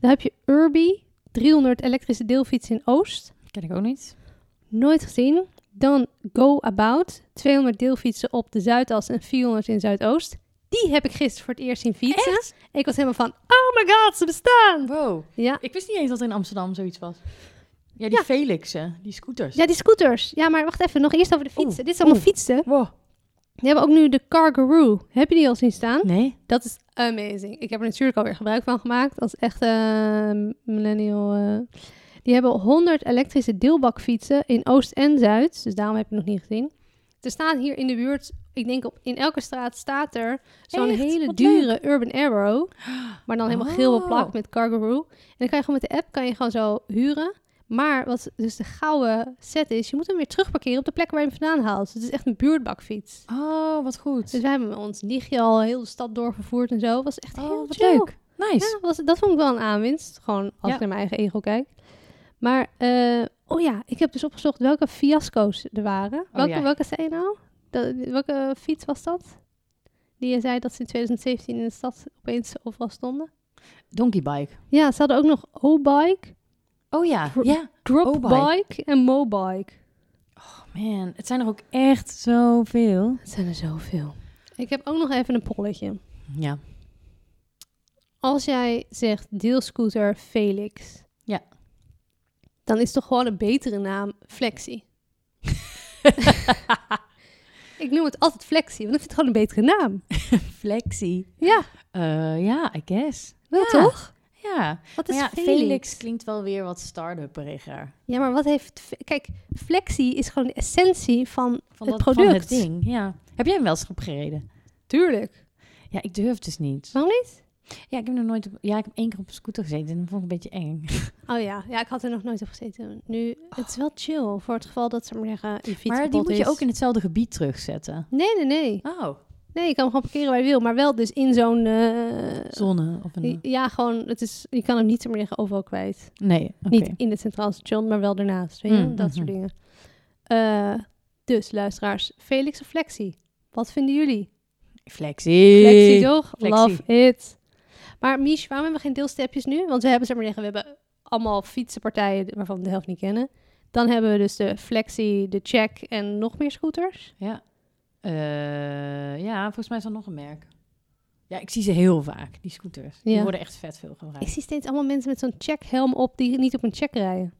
Speaker 1: Dan heb je Urbi, 300 elektrische deelfietsen in Oost.
Speaker 2: (laughs) Ken ik ook niet.
Speaker 1: Nooit gezien. Dan Go About, 200 deelfietsen op de Zuidas en 400 in Zuidoost. Die heb ik gisteren voor het eerst zien fietsen. Ik was helemaal van, oh my god, ze bestaan!
Speaker 2: Wow.
Speaker 1: Ja.
Speaker 2: Ik wist niet eens dat er in Amsterdam zoiets was. Ja, die
Speaker 1: Ja.
Speaker 2: Felixen, die scooters.
Speaker 1: Ja, die scooters. Ja, maar wacht even, nog eerst over de fietsen. Dit is allemaal
Speaker 2: oeh.
Speaker 1: fietsen.
Speaker 2: Wow.
Speaker 1: We hebben ook nu de Cargaroo. Heb je die al zien staan?
Speaker 2: Nee.
Speaker 1: Dat is amazing. Ik heb er natuurlijk alweer gebruik van gemaakt als echte eh, millennial. eh. Die hebben 100 elektrische deelbakfietsen in Oost en Zuid. Dus daarom heb ik het nog niet gezien. Er staan hier in de buurt, ik denk op, in elke straat staat er zo'n
Speaker 2: Echt?
Speaker 1: hele
Speaker 2: Wat
Speaker 1: dure Urban Arrow. Maar dan helemaal geel
Speaker 2: Oh.
Speaker 1: beplakt met Cargaroo. En dan kan je gewoon met de app kan je gewoon zo huren. Maar wat dus de gouden set is, je moet hem weer terugparkeren op de plek waar je hem vandaan haalt. Dus het is echt een buurtbakfiets.
Speaker 2: Oh, wat goed.
Speaker 1: Dus wij hebben ons nichtje al heel de stad doorgevoerd en zo. Was echt heel
Speaker 2: oh, wat
Speaker 1: chill.
Speaker 2: leuk. Nice.
Speaker 1: Ja, was, dat vond ik wel een aanwinst. Gewoon als
Speaker 2: Ja.
Speaker 1: ik naar mijn eigen ego kijk. Maar, eh, oh ja, ik heb dus opgezocht welke fiasco's er waren. welke,
Speaker 2: ja.
Speaker 1: welke zei je nou? Dat- welke fiets was dat? Die je zei dat ze in 2017 in de stad opeens overal stonden.
Speaker 2: Donkey bike.
Speaker 1: Ja, ze hadden ook nog O-bike,
Speaker 2: Oh ja.
Speaker 1: Voor-
Speaker 2: Ja.
Speaker 1: Dropbike en Mobike.
Speaker 2: Oh, Man, het zijn er ook echt zoveel.
Speaker 1: Het zijn er zoveel. Ik heb ook nog even een polletje.
Speaker 2: Ja. (laughs)
Speaker 1: Als jij zegt deelscooter Felix.
Speaker 2: Ja.
Speaker 1: Dan is toch gewoon een betere naam
Speaker 2: (laughs)
Speaker 1: Flexi. ik noem het altijd Flexi, want ik vind het gewoon een betere
Speaker 2: (laughs)
Speaker 1: naam.
Speaker 2: Flexie. Eh,
Speaker 1: Ja,
Speaker 2: Ja, I guess.
Speaker 1: wel
Speaker 2: Ja.
Speaker 1: toch?
Speaker 2: Ja.
Speaker 1: Wat is
Speaker 2: Maar ja,
Speaker 1: Felix?
Speaker 2: Felix klinkt wel weer wat start-upperiger.
Speaker 1: Ja, maar wat heeft... Fe- Kijk, Flexi is gewoon de essentie van,
Speaker 2: Van
Speaker 1: het
Speaker 2: dat
Speaker 1: product.
Speaker 2: Van het ding, ja. Heb jij hem wel eens opgereden?
Speaker 1: Tuurlijk.
Speaker 2: Ja, ik durf dus niet.
Speaker 1: Waarom niet?
Speaker 2: Ja, ik heb nog nooit op, ja, ik heb één keer op een scooter gezeten en dat vond ik een beetje eng.
Speaker 1: Oh ja, ja ik had er nog nooit op gezeten. Nu, het is wel chill voor het geval dat ze maar zeggen, je fiets
Speaker 2: Oh. Maar die
Speaker 1: kapot
Speaker 2: moet je
Speaker 1: is.
Speaker 2: ook in hetzelfde gebied terugzetten.
Speaker 1: Nee, nee, nee.
Speaker 2: Oh.
Speaker 1: Nee, je kan hem gewoon parkeren waar je wil. Maar wel dus in zo'n... eh,
Speaker 2: Zonne of een...
Speaker 1: Ja, gewoon, het is, je kan hem niet meer liggen overal kwijt.
Speaker 2: Nee, oké.
Speaker 1: Niet in het Centraal Station, maar wel daarnaast. Weet je?
Speaker 2: Mm,
Speaker 1: Dat soort
Speaker 2: mhm.
Speaker 1: dingen. Eh, dus, luisteraars, Felix of Flexi? Wat vinden jullie?
Speaker 2: Flexie.
Speaker 1: Flexi, toch?
Speaker 2: Flexi.
Speaker 1: Love it. Maar Mies, waarom hebben we geen deelstepjes nu? Want we hebben, zeg maar liggen, we hebben allemaal fietsenpartijen waarvan we de helft niet kennen. Dan hebben we dus de Flexi, de Check en nog meer scooters.
Speaker 2: Ja. Eh, ja, volgens mij is dat nog een merk. Ja, ik zie ze heel vaak, die scooters. Die
Speaker 1: Ja.
Speaker 2: worden echt vet veel
Speaker 1: Ik
Speaker 2: gebruikt.
Speaker 1: zie steeds allemaal mensen met zo'n checkhelm op die niet op een check rijden.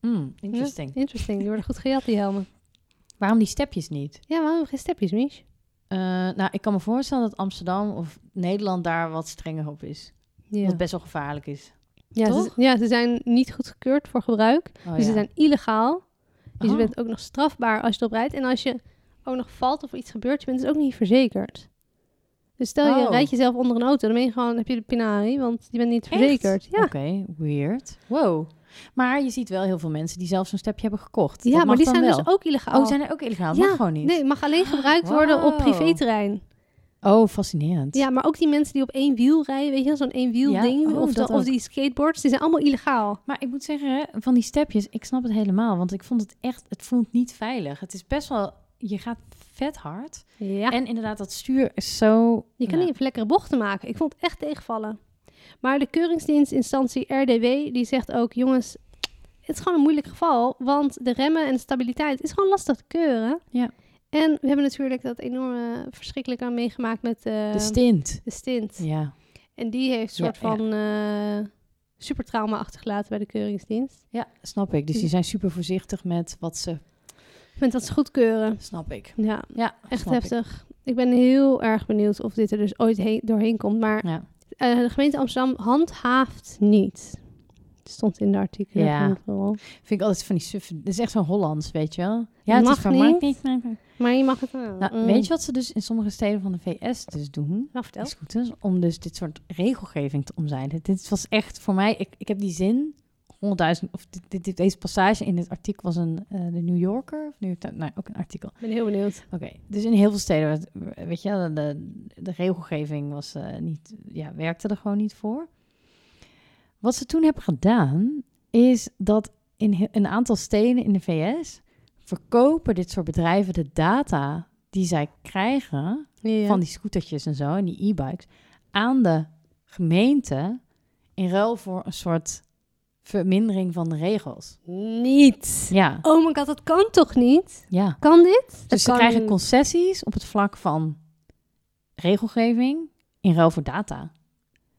Speaker 2: Mm, interesting.
Speaker 1: Ja, interesting, die worden goed gejat, die helmen.
Speaker 2: Waarom die stepjes niet?
Speaker 1: Ja, waarom hebben we geen stepjes, Mies?
Speaker 2: Eh, nou, ik kan me voorstellen dat Amsterdam of Nederland daar wat strenger op is.
Speaker 1: Ja,
Speaker 2: Wat best wel gevaarlijk is.
Speaker 1: ja, ze,
Speaker 2: toch?
Speaker 1: ja ze zijn niet goedgekeurd voor gebruik.
Speaker 2: Oh,
Speaker 1: dus ze
Speaker 2: ja.
Speaker 1: zijn illegaal. Dus
Speaker 2: Oh.
Speaker 1: je bent ook nog strafbaar als je erop rijdt. En als je ook nog valt of iets gebeurt, je bent dus ook niet verzekerd. Dus stel je
Speaker 2: Oh.
Speaker 1: rijdt jezelf onder een auto, dan ben je gewoon, heb je de pinari, want je bent niet
Speaker 2: Echt?
Speaker 1: verzekerd. Ja,
Speaker 2: Oké, weird. Wow. Maar je ziet wel heel veel mensen die zelf zo'n stepje hebben gekocht. Dat
Speaker 1: ja maar
Speaker 2: mag
Speaker 1: die
Speaker 2: dan
Speaker 1: zijn
Speaker 2: wel.
Speaker 1: dus ook illegaal.
Speaker 2: Oh, zijn er ook illegaal? Dat
Speaker 1: Ja,
Speaker 2: mag gewoon niet.
Speaker 1: Nee, het mag alleen gebruikt worden op
Speaker 2: Wauw.
Speaker 1: privéterrein.
Speaker 2: Oh, fascinerend.
Speaker 1: Ja, maar ook die mensen die op één wiel rijden, weet je wel, zo'n één wiel
Speaker 2: Ja,
Speaker 1: ding.
Speaker 2: oh,
Speaker 1: of,
Speaker 2: dat
Speaker 1: dan- of
Speaker 2: ook.
Speaker 1: die skateboards, die zijn allemaal illegaal.
Speaker 2: Maar ik moet zeggen, hè, van die stepjes, ik snap het helemaal. Want ik vond het echt, het voelt niet veilig. Het is best wel, je gaat vet hard.
Speaker 1: Ja.
Speaker 2: En inderdaad, dat stuur is zo...
Speaker 1: Je kan
Speaker 2: nou,
Speaker 1: niet even lekkere bochten maken. Ik vond het echt tegenvallen. Maar de keuringsdienstinstantie RDW die zegt ook: jongens, het is gewoon een moeilijk geval. Want de remmen en de stabiliteit is gewoon lastig te keuren.
Speaker 2: Ja.
Speaker 1: En we hebben natuurlijk dat enorme verschrikkelijk aan meegemaakt met eh,
Speaker 2: De stint.
Speaker 1: de stint.
Speaker 2: Ja.
Speaker 1: En die heeft een
Speaker 2: Ja,
Speaker 1: soort
Speaker 2: ja.
Speaker 1: van eh supertrauma achtergelaten bij de keuringsdienst.
Speaker 2: ja, snap ik. Dus die zijn super voorzichtig met wat ze...
Speaker 1: Met dat ze goedkeuren.
Speaker 2: Snap ik.
Speaker 1: Ja,
Speaker 2: Ja,
Speaker 1: echt
Speaker 2: snap ik.
Speaker 1: heftig. Ik. ben heel erg benieuwd of dit er dus ooit heen- doorheen komt. Maar
Speaker 2: Ja.
Speaker 1: Eh, de gemeente Amsterdam handhaaft niet. Het stond in de artikelen.
Speaker 2: Ja.
Speaker 1: van het verhaal.
Speaker 2: Vind ik altijd van die suffe... Het is echt zo'n Hollands, weet je wel? Ja, het
Speaker 1: Mag
Speaker 2: is van
Speaker 1: niet.
Speaker 2: maakt niet. maakt niet.
Speaker 1: Maar je mag het wel.
Speaker 2: Nou,
Speaker 1: Mm.
Speaker 2: weet je wat ze dus in sommige steden van de VS dus doen?
Speaker 1: Nou, vertel.
Speaker 2: Die scooters, om dus dit soort regelgeving te omzeilen. Dit was echt voor mij, ik, ik heb die zin, 100.000, of dit, dit, dit- deze passage in dit artikel was een, eh, de New Yorker, of New York Times, nou, ook een artikel.
Speaker 1: Ik ben heel benieuwd.
Speaker 2: Oké, dus in heel veel steden, werd- weet je, wel, de, de regelgeving was eh, niet, ja, werkte er gewoon niet voor. Wat ze toen hebben gedaan, is dat in he- een aantal steden in de VS verkopen dit soort bedrijven de data die zij krijgen
Speaker 1: Ja.
Speaker 2: van die scootertjes en zo en die e-bikes aan de gemeente in ruil voor een soort vermindering van de regels.
Speaker 1: Niet.
Speaker 2: Ja,
Speaker 1: Oh my god, dat kan toch niet?
Speaker 2: ja.
Speaker 1: Kan dit? Dat
Speaker 2: Dus ze
Speaker 1: kan
Speaker 2: krijgen
Speaker 1: niet.
Speaker 2: concessies op het vlak van regelgeving in ruil voor data.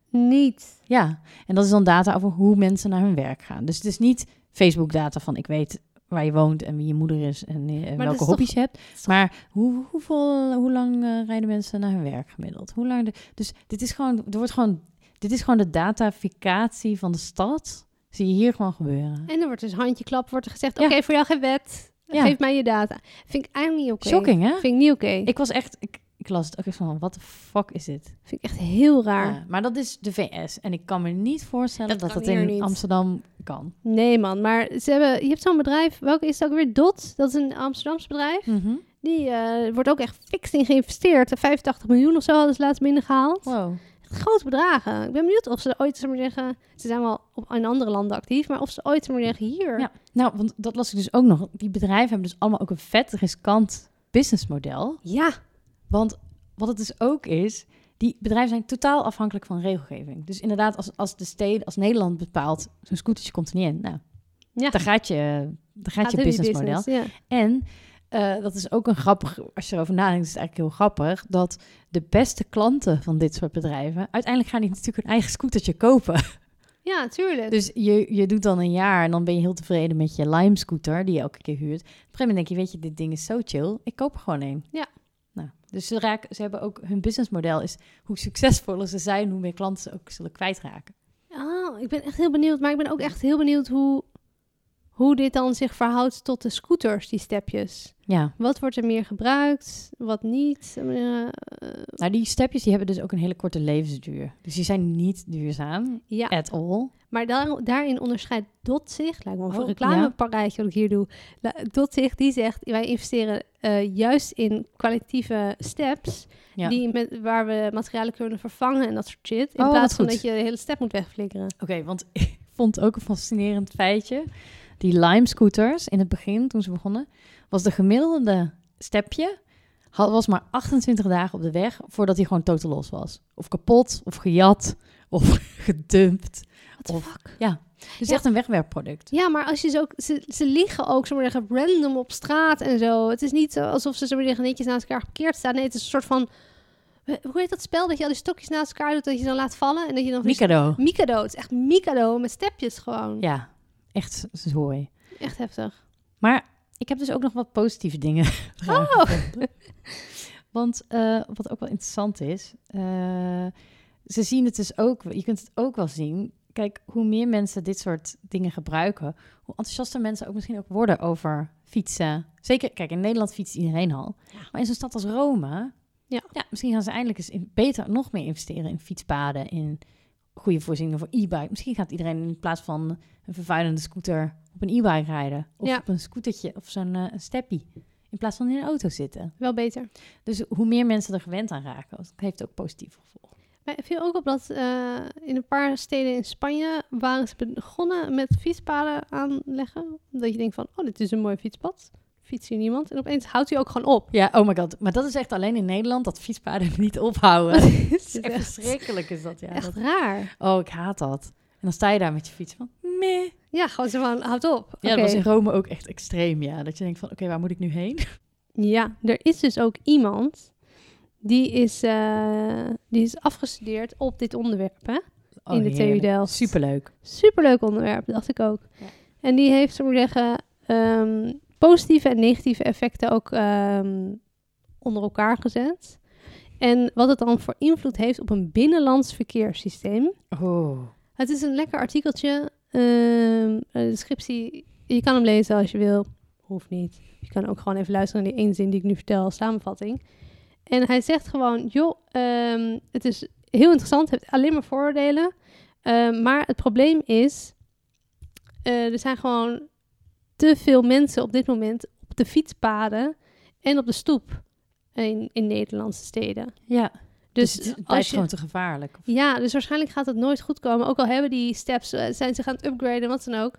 Speaker 1: Niet.
Speaker 2: Ja, en dat is dan data over hoe mensen naar hun werk gaan. Dus het is niet Facebook-data van ik weet waar je woont en wie je moeder is en eh,
Speaker 1: dat is
Speaker 2: welke
Speaker 1: toch-
Speaker 2: hobby's je hebt. Maar hoe, hoeveel, hoe lang eh, rijden mensen naar hun werk gemiddeld? Hoe lang de, dus dit is, gewoon, er wordt gewoon, dit is gewoon de dataficatie van de stad. Zie je hier gewoon gebeuren.
Speaker 1: En er wordt dus handjeklap wordt er gezegd,
Speaker 2: Ja.
Speaker 1: oké, voor jou geen wet.
Speaker 2: Ja.
Speaker 1: Geef mij je data. Vind ik eigenlijk niet oké.
Speaker 2: Shocking, hè?
Speaker 1: Vind ik niet oké.
Speaker 2: Ik was echt, ik, ik las het ook echt van, wat de fuck is dit?
Speaker 1: Vind ik echt heel raar.
Speaker 2: Ja, Eh, maar dat is de VS. En ik kan me niet voorstellen
Speaker 1: Dat
Speaker 2: dat
Speaker 1: kan
Speaker 2: dat,
Speaker 1: hier
Speaker 2: in
Speaker 1: niet.
Speaker 2: Amsterdam kan.
Speaker 1: Nee man, maar ze hebben, je hebt zo'n bedrijf, welke is dat ook weer? Dot, dat is een Amsterdams bedrijf.
Speaker 2: Mhm.
Speaker 1: Die eh, wordt ook echt fix in geïnvesteerd. 85 miljoen of zo hadden ze laatst binnengehaald.
Speaker 2: Wow.
Speaker 1: Echt grote bedragen. Ik ben benieuwd of ze ooit, zullen we zeggen, ze zijn wel op, in andere landen actief, maar of ze ooit, zullen we zeggen, hier...
Speaker 2: Ja, nou, want dat las ik dus ook nog. Die bedrijven hebben dus allemaal ook een vet riskant businessmodel.
Speaker 1: Ja,
Speaker 2: Want wat het dus ook is, die bedrijven zijn totaal afhankelijk van regelgeving. Dus inderdaad, als, als de steden, als Nederland bepaalt, zo'n scootertje komt er niet in. Nou,
Speaker 1: Ja.
Speaker 2: daar gaat je, daar gaat
Speaker 1: gaat
Speaker 2: je
Speaker 1: in die
Speaker 2: businessmodel.
Speaker 1: business, ja.
Speaker 2: En eh, dat is ook een grappig, als je erover nadenkt, is het eigenlijk heel grappig dat de beste klanten van dit soort bedrijven uiteindelijk gaan die natuurlijk hun eigen scootertje kopen. (laughs)
Speaker 1: Ja, tuurlijk.
Speaker 2: Dus je, je doet dan een jaar en dan ben je heel tevreden met je Lime scooter die je elke keer huurt. Op een gegeven moment denk je, weet je, dit ding is zo chill, ik koop er gewoon een.
Speaker 1: Ja.
Speaker 2: Nou, dus ze, raken, ze hebben ook hun businessmodel is hoe succesvoller ze zijn, hoe meer klanten ze ook zullen kwijtraken.
Speaker 1: Oh, ik ben echt heel benieuwd. Maar ik ben ook echt heel benieuwd hoe, hoe dit dan zich verhoudt tot de scooters, die stepjes.
Speaker 2: Ja,
Speaker 1: Wat wordt er meer gebruikt, wat niet? Eh, eh,
Speaker 2: nou die stepjes die hebben dus ook een hele korte levensduur. Dus die zijn niet duurzaam,
Speaker 1: ja,
Speaker 2: at all.
Speaker 1: maar daar, daarin onderscheidt Dot zich, lijkt me wel een
Speaker 2: Oh,
Speaker 1: reclameparadijsje wat ik hier doe. La- Dot zich, die zegt, wij investeren eh, juist in kwalitatieve steps,
Speaker 2: Ja.
Speaker 1: die met, waar we materialen kunnen vervangen en dat soort shit. In
Speaker 2: Oh, wat
Speaker 1: plaats van
Speaker 2: goed.
Speaker 1: dat je de hele step moet wegflikkeren.
Speaker 2: Oké, want (laughs) ik vond ook een fascinerend feitje. Die Lime scooters in het begin, toen ze begonnen, was de gemiddelde stepje had, was maar 28 dagen op de weg voordat hij gewoon totaal los was. Of kapot, of gejat, (laughs) of gedumpt.
Speaker 1: What the
Speaker 2: Of-
Speaker 1: fuck?
Speaker 2: Dus
Speaker 1: Ja.
Speaker 2: echt een wegwerpproduct.
Speaker 1: Ja, maar als je ze ook, ze, ze liggen ook zo maar zeggen, random op straat en zo. Het is niet zo alsof ze zo maar zeggen, netjes naast elkaar geparkeerd staan. Nee, het is een soort van, hoe heet dat spel dat je al die stokjes naast elkaar doet, dat je dan laat vallen en dat je dan
Speaker 2: Mikado.
Speaker 1: Mikado, het is echt Mikado met stepjes gewoon.
Speaker 2: Ja, echt zooi.
Speaker 1: Echt heftig.
Speaker 2: Maar ik heb dus ook nog wat positieve dingen. eraan
Speaker 1: Oh.
Speaker 2: (laughs) gevonden. Want eh, wat ook wel interessant is, eh, ze zien het dus ook, je kunt het ook wel zien. Kijk, hoe meer mensen dit soort dingen gebruiken, hoe enthousiaster mensen ook misschien ook worden over fietsen. Zeker, kijk, in Nederland fietst iedereen al. Maar in zo'n stad als Rome,
Speaker 1: Ja.
Speaker 2: misschien gaan ze eindelijk eens in- beter nog meer investeren in fietspaden, in goede voorzieningen voor e-bike. Misschien gaat iedereen in plaats van een vervuilende scooter op een e-bike rijden. Of
Speaker 1: Ja.
Speaker 2: op een scootertje of zo'n eh, een steppie. In plaats van in een auto zitten.
Speaker 1: Wel beter.
Speaker 2: Dus hoe meer mensen er gewend aan raken, dat heeft ook positieve gevolgen.
Speaker 1: Maar het viel ook op dat eh, in een paar steden in Spanje waren ze begonnen met fietspaden aanleggen. Omdat je denkt van, oh, dit is een mooi fietspad. Fiets hier niemand. En opeens houdt hij ook gewoon op.
Speaker 2: Ja, oh my god. Maar dat is echt alleen in Nederland dat fietspaden (laughs) niet ophouden. (laughs)
Speaker 1: (laughs)
Speaker 2: Dat is
Speaker 1: echt-
Speaker 2: (laughs) echt verschrikkelijk is dat, ja.
Speaker 1: Echt
Speaker 2: Dat-
Speaker 1: raar.
Speaker 2: oh, ik haat dat. En dan sta je daar met je fiets van, meh.
Speaker 1: Ja, gewoon zo van, houd op. Oké.
Speaker 2: Ja, dat was in Rome ook echt extreem, ja. Dat je denkt van, oké, waar moet ik nu heen?
Speaker 1: Ja, er is dus ook iemand die is, eh, die is afgestudeerd op dit onderwerp. Hè?
Speaker 2: Oh,
Speaker 1: In de TU
Speaker 2: heerlijk.
Speaker 1: Delft.
Speaker 2: Superleuk.
Speaker 1: Superleuk onderwerp, dacht ik ook.
Speaker 2: Ja.
Speaker 1: En die heeft, zo zeggen, ehm, positieve en negatieve effecten ook ehm, onder elkaar gezet. En wat het dan voor invloed heeft op een binnenlands verkeerssysteem.
Speaker 2: Oh.
Speaker 1: Het is een lekker artikeltje. Ehm de descriptie, je kan hem lezen als je wil. Hoeft niet. Je kan ook gewoon even luisteren naar die één zin die ik nu vertel als samenvatting. En hij zegt gewoon, joh, ehm, het is heel interessant. Het heeft alleen maar voordelen. Ehm, maar het probleem is, eh, er zijn gewoon te veel mensen op dit moment op de fietspaden en op de stoep in, in Nederlandse steden.
Speaker 2: Ja. Dus,
Speaker 1: Dus,
Speaker 2: het, is- het
Speaker 1: als
Speaker 2: blijft
Speaker 1: je,
Speaker 2: gewoon te gevaarlijk.
Speaker 1: Ja, dus waarschijnlijk gaat het nooit goed komen. Ook al hebben die steps, eh, zijn ze gaan upgraden, wat dan ook.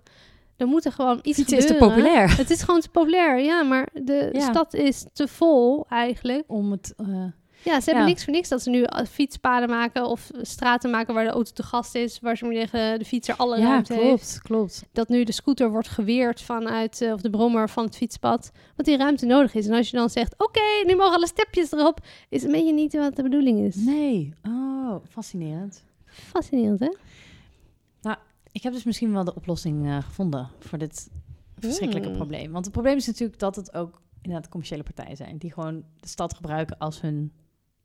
Speaker 1: Dan moet er gewoon iets
Speaker 2: Fietsen is
Speaker 1: gebeuren.
Speaker 2: te (laughs) populair.
Speaker 1: Het is gewoon te populair, ja. Maar de
Speaker 2: Ja.
Speaker 1: stad is te vol eigenlijk.
Speaker 2: Om het, eh,
Speaker 1: Ja, ze hebben
Speaker 2: Ja.
Speaker 1: niks voor niks dat ze nu eh, fietspaden maken of straten maken waar de auto te gast is. Waar ze maar zeggen, de fietser alle
Speaker 2: ja,
Speaker 1: ruimte heeft
Speaker 2: klopt, klopt.
Speaker 1: dat nu de scooter wordt geweerd vanuit, eh, of de brommer van het fietspad, want die ruimte nodig is. En als je dan zegt, oké, nu mogen alle stepjes erop, is een beetje niet wat de bedoeling is.
Speaker 2: Nee, oh, fascinerend.
Speaker 1: Fascinerend, hè?
Speaker 2: Ik heb dus misschien wel de oplossing eh, gevonden voor dit verschrikkelijke
Speaker 1: Hmm.
Speaker 2: probleem. Want het probleem is natuurlijk dat het ook inderdaad commerciële partijen zijn. Die gewoon de stad gebruiken als hun,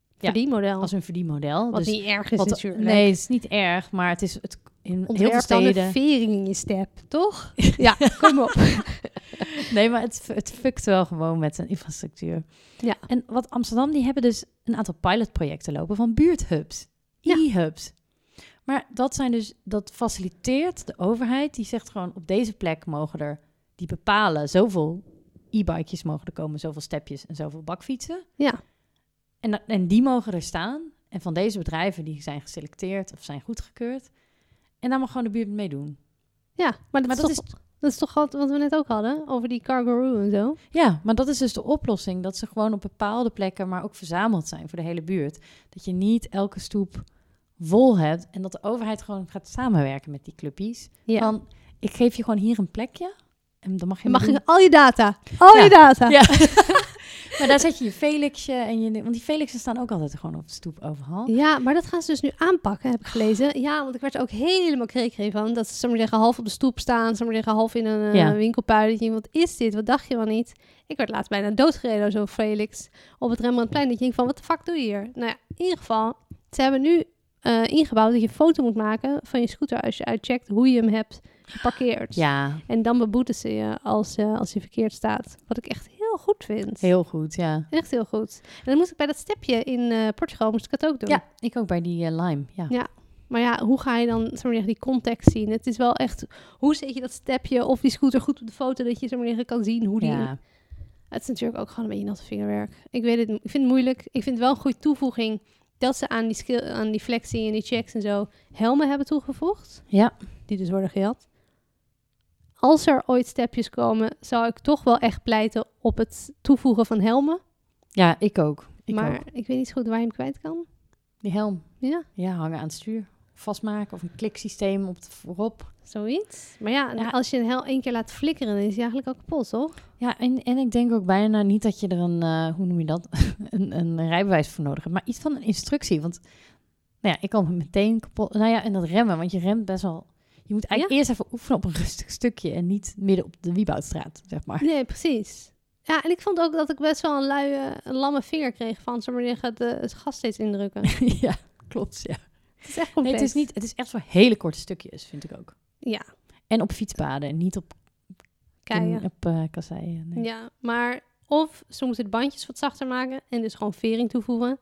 Speaker 2: Ja,
Speaker 1: Verdienmodel.
Speaker 2: als hun verdienmodel.
Speaker 1: wat
Speaker 2: dus,
Speaker 1: niet erg is
Speaker 2: wat-
Speaker 1: natuurlijk.
Speaker 2: nee, het is niet erg, maar het is het, in heel veel
Speaker 1: Ontwerp dan
Speaker 2: steden...
Speaker 1: een vering in je step, toch? (laughs) ja, kom op.
Speaker 2: Nee, maar het, het fukt wel gewoon met een infrastructuur.
Speaker 1: Ja.
Speaker 2: En wat Amsterdam, die hebben dus een aantal pilotprojecten lopen van buurthubs,
Speaker 1: Ja.
Speaker 2: e-hubs. Maar dat zijn dus, dat faciliteert de overheid. Die zegt gewoon op deze plek mogen er, die bepalen zoveel e-bikejes mogen er komen, zoveel stepjes en zoveel bakfietsen.
Speaker 1: Ja.
Speaker 2: En, da- en die mogen er staan. En van deze bedrijven die zijn geselecteerd of zijn goedgekeurd. En daar mag gewoon de buurt mee doen.
Speaker 1: Ja, maar dat,
Speaker 2: Maar
Speaker 1: is,
Speaker 2: dat
Speaker 1: toch, dat is toch wat, wat we net ook hadden, over die Cargaroo en zo.
Speaker 2: Ja, maar dat is dus de oplossing. Dat ze gewoon op bepaalde plekken, maar ook verzameld zijn voor de hele buurt. Dat je niet elke stoep vol hebt. En dat de overheid gewoon gaat samenwerken met die clubjes.
Speaker 1: Ja.
Speaker 2: Van, ik geef je gewoon hier een plekje. En dan mag je...
Speaker 1: Dan mag
Speaker 2: maar
Speaker 1: je al je data, al
Speaker 2: Ja.
Speaker 1: je data.
Speaker 2: Ja. maar daar zet je je Felixje en je... Want die Felixen staan ook altijd gewoon op de stoep overal.
Speaker 1: Ja, maar dat gaan ze dus nu aanpakken, heb ik gelezen. Ja, want ik werd er ook helemaal krekerig van. Dat ze zomaar zeggen, half op de stoep staan, zomaar zeggen, half in een eh,
Speaker 2: Ja.
Speaker 1: winkelpui. Dat je denkt, wat is dit? Wat dacht je wel niet? Ik werd laatst bijna doodgereden door zo'n Felix op het Rembrandtplein. Dat je denkt van, wat de fuck doe je hier? Nou ja, in ieder geval, ze hebben nu eh, ingebouwd dat je een foto moet maken van je scooter als je uitcheckt hoe je hem hebt geparkeerd.
Speaker 2: Ja,
Speaker 1: En dan beboeten ze je als, eh, als hij verkeerd staat. Wat ik echt heel goed vind.
Speaker 2: heel goed, ja.
Speaker 1: Echt heel goed. En dan moest ik bij dat stepje in eh, Portugal, moest ik het ook doen.
Speaker 2: Ja, ik ook bij die eh, Lime, ja.
Speaker 1: Ja. Maar ja, hoe ga je dan zeg maar, zeggen, die context zien? Het is wel echt, hoe zet je dat stepje of die scooter goed op de foto, dat je zeg maar, zeggen, kan zien hoe die...
Speaker 2: Ja,
Speaker 1: Het is natuurlijk ook gewoon een beetje natte vingerwerk. Ik weet het, ik vind het moeilijk. Ik vind het wel een goede toevoeging dat ze aan die, skill, aan die flexie en die checks en zo helmen hebben toegevoegd,
Speaker 2: ja.
Speaker 1: die dus worden gejat. Als er ooit stepjes komen, zou ik toch wel echt pleiten op het toevoegen van helmen.
Speaker 2: ja ik ook. Ik
Speaker 1: maar
Speaker 2: ook.
Speaker 1: ik weet niet zo goed waar je hem kwijt kan.
Speaker 2: Die helm.
Speaker 1: Ja,
Speaker 2: Ja, hangen aan het stuur. Vastmaken of een kliksysteem op de voorop.
Speaker 1: zoiets. Maar ja,
Speaker 2: Ja.
Speaker 1: als je een hel één keer laat flikkeren, dan is hij eigenlijk al kapot, toch?
Speaker 2: Ja, en, en ik denk ook bijna niet dat je er een, eh, hoe noem je dat, (laughs) een, een rijbewijs voor nodig hebt. Maar iets van een instructie, want nou ja, ik kan meteen kapot, nou ja, en dat remmen, want je remt best wel, je moet eigenlijk eerst even oefenen op een (laughs) rustig stukje en niet midden op de Wieboudstraat, zeg
Speaker 1: (laughs)
Speaker 2: maar.
Speaker 1: Nee, precies. Ja, en ik vond ook dat ik best wel een luie, een lamme vinger kreeg van... zomaar je gaat eh, het gas steeds indrukken. het
Speaker 2: (laughs) ja, klopt, ja.
Speaker 1: is echt
Speaker 2: Nee,
Speaker 1: complex.
Speaker 2: (laughs) het is, niet, het is echt voor hele korte stukjes, vind ik ook.
Speaker 1: Ja,
Speaker 2: En op fietspaden en niet op,
Speaker 1: keien.
Speaker 2: in- op eh, kasseien. nee.
Speaker 1: Ja, maar of ze moeten de bandjes wat zachter maken... en dus gewoon vering toevoegen.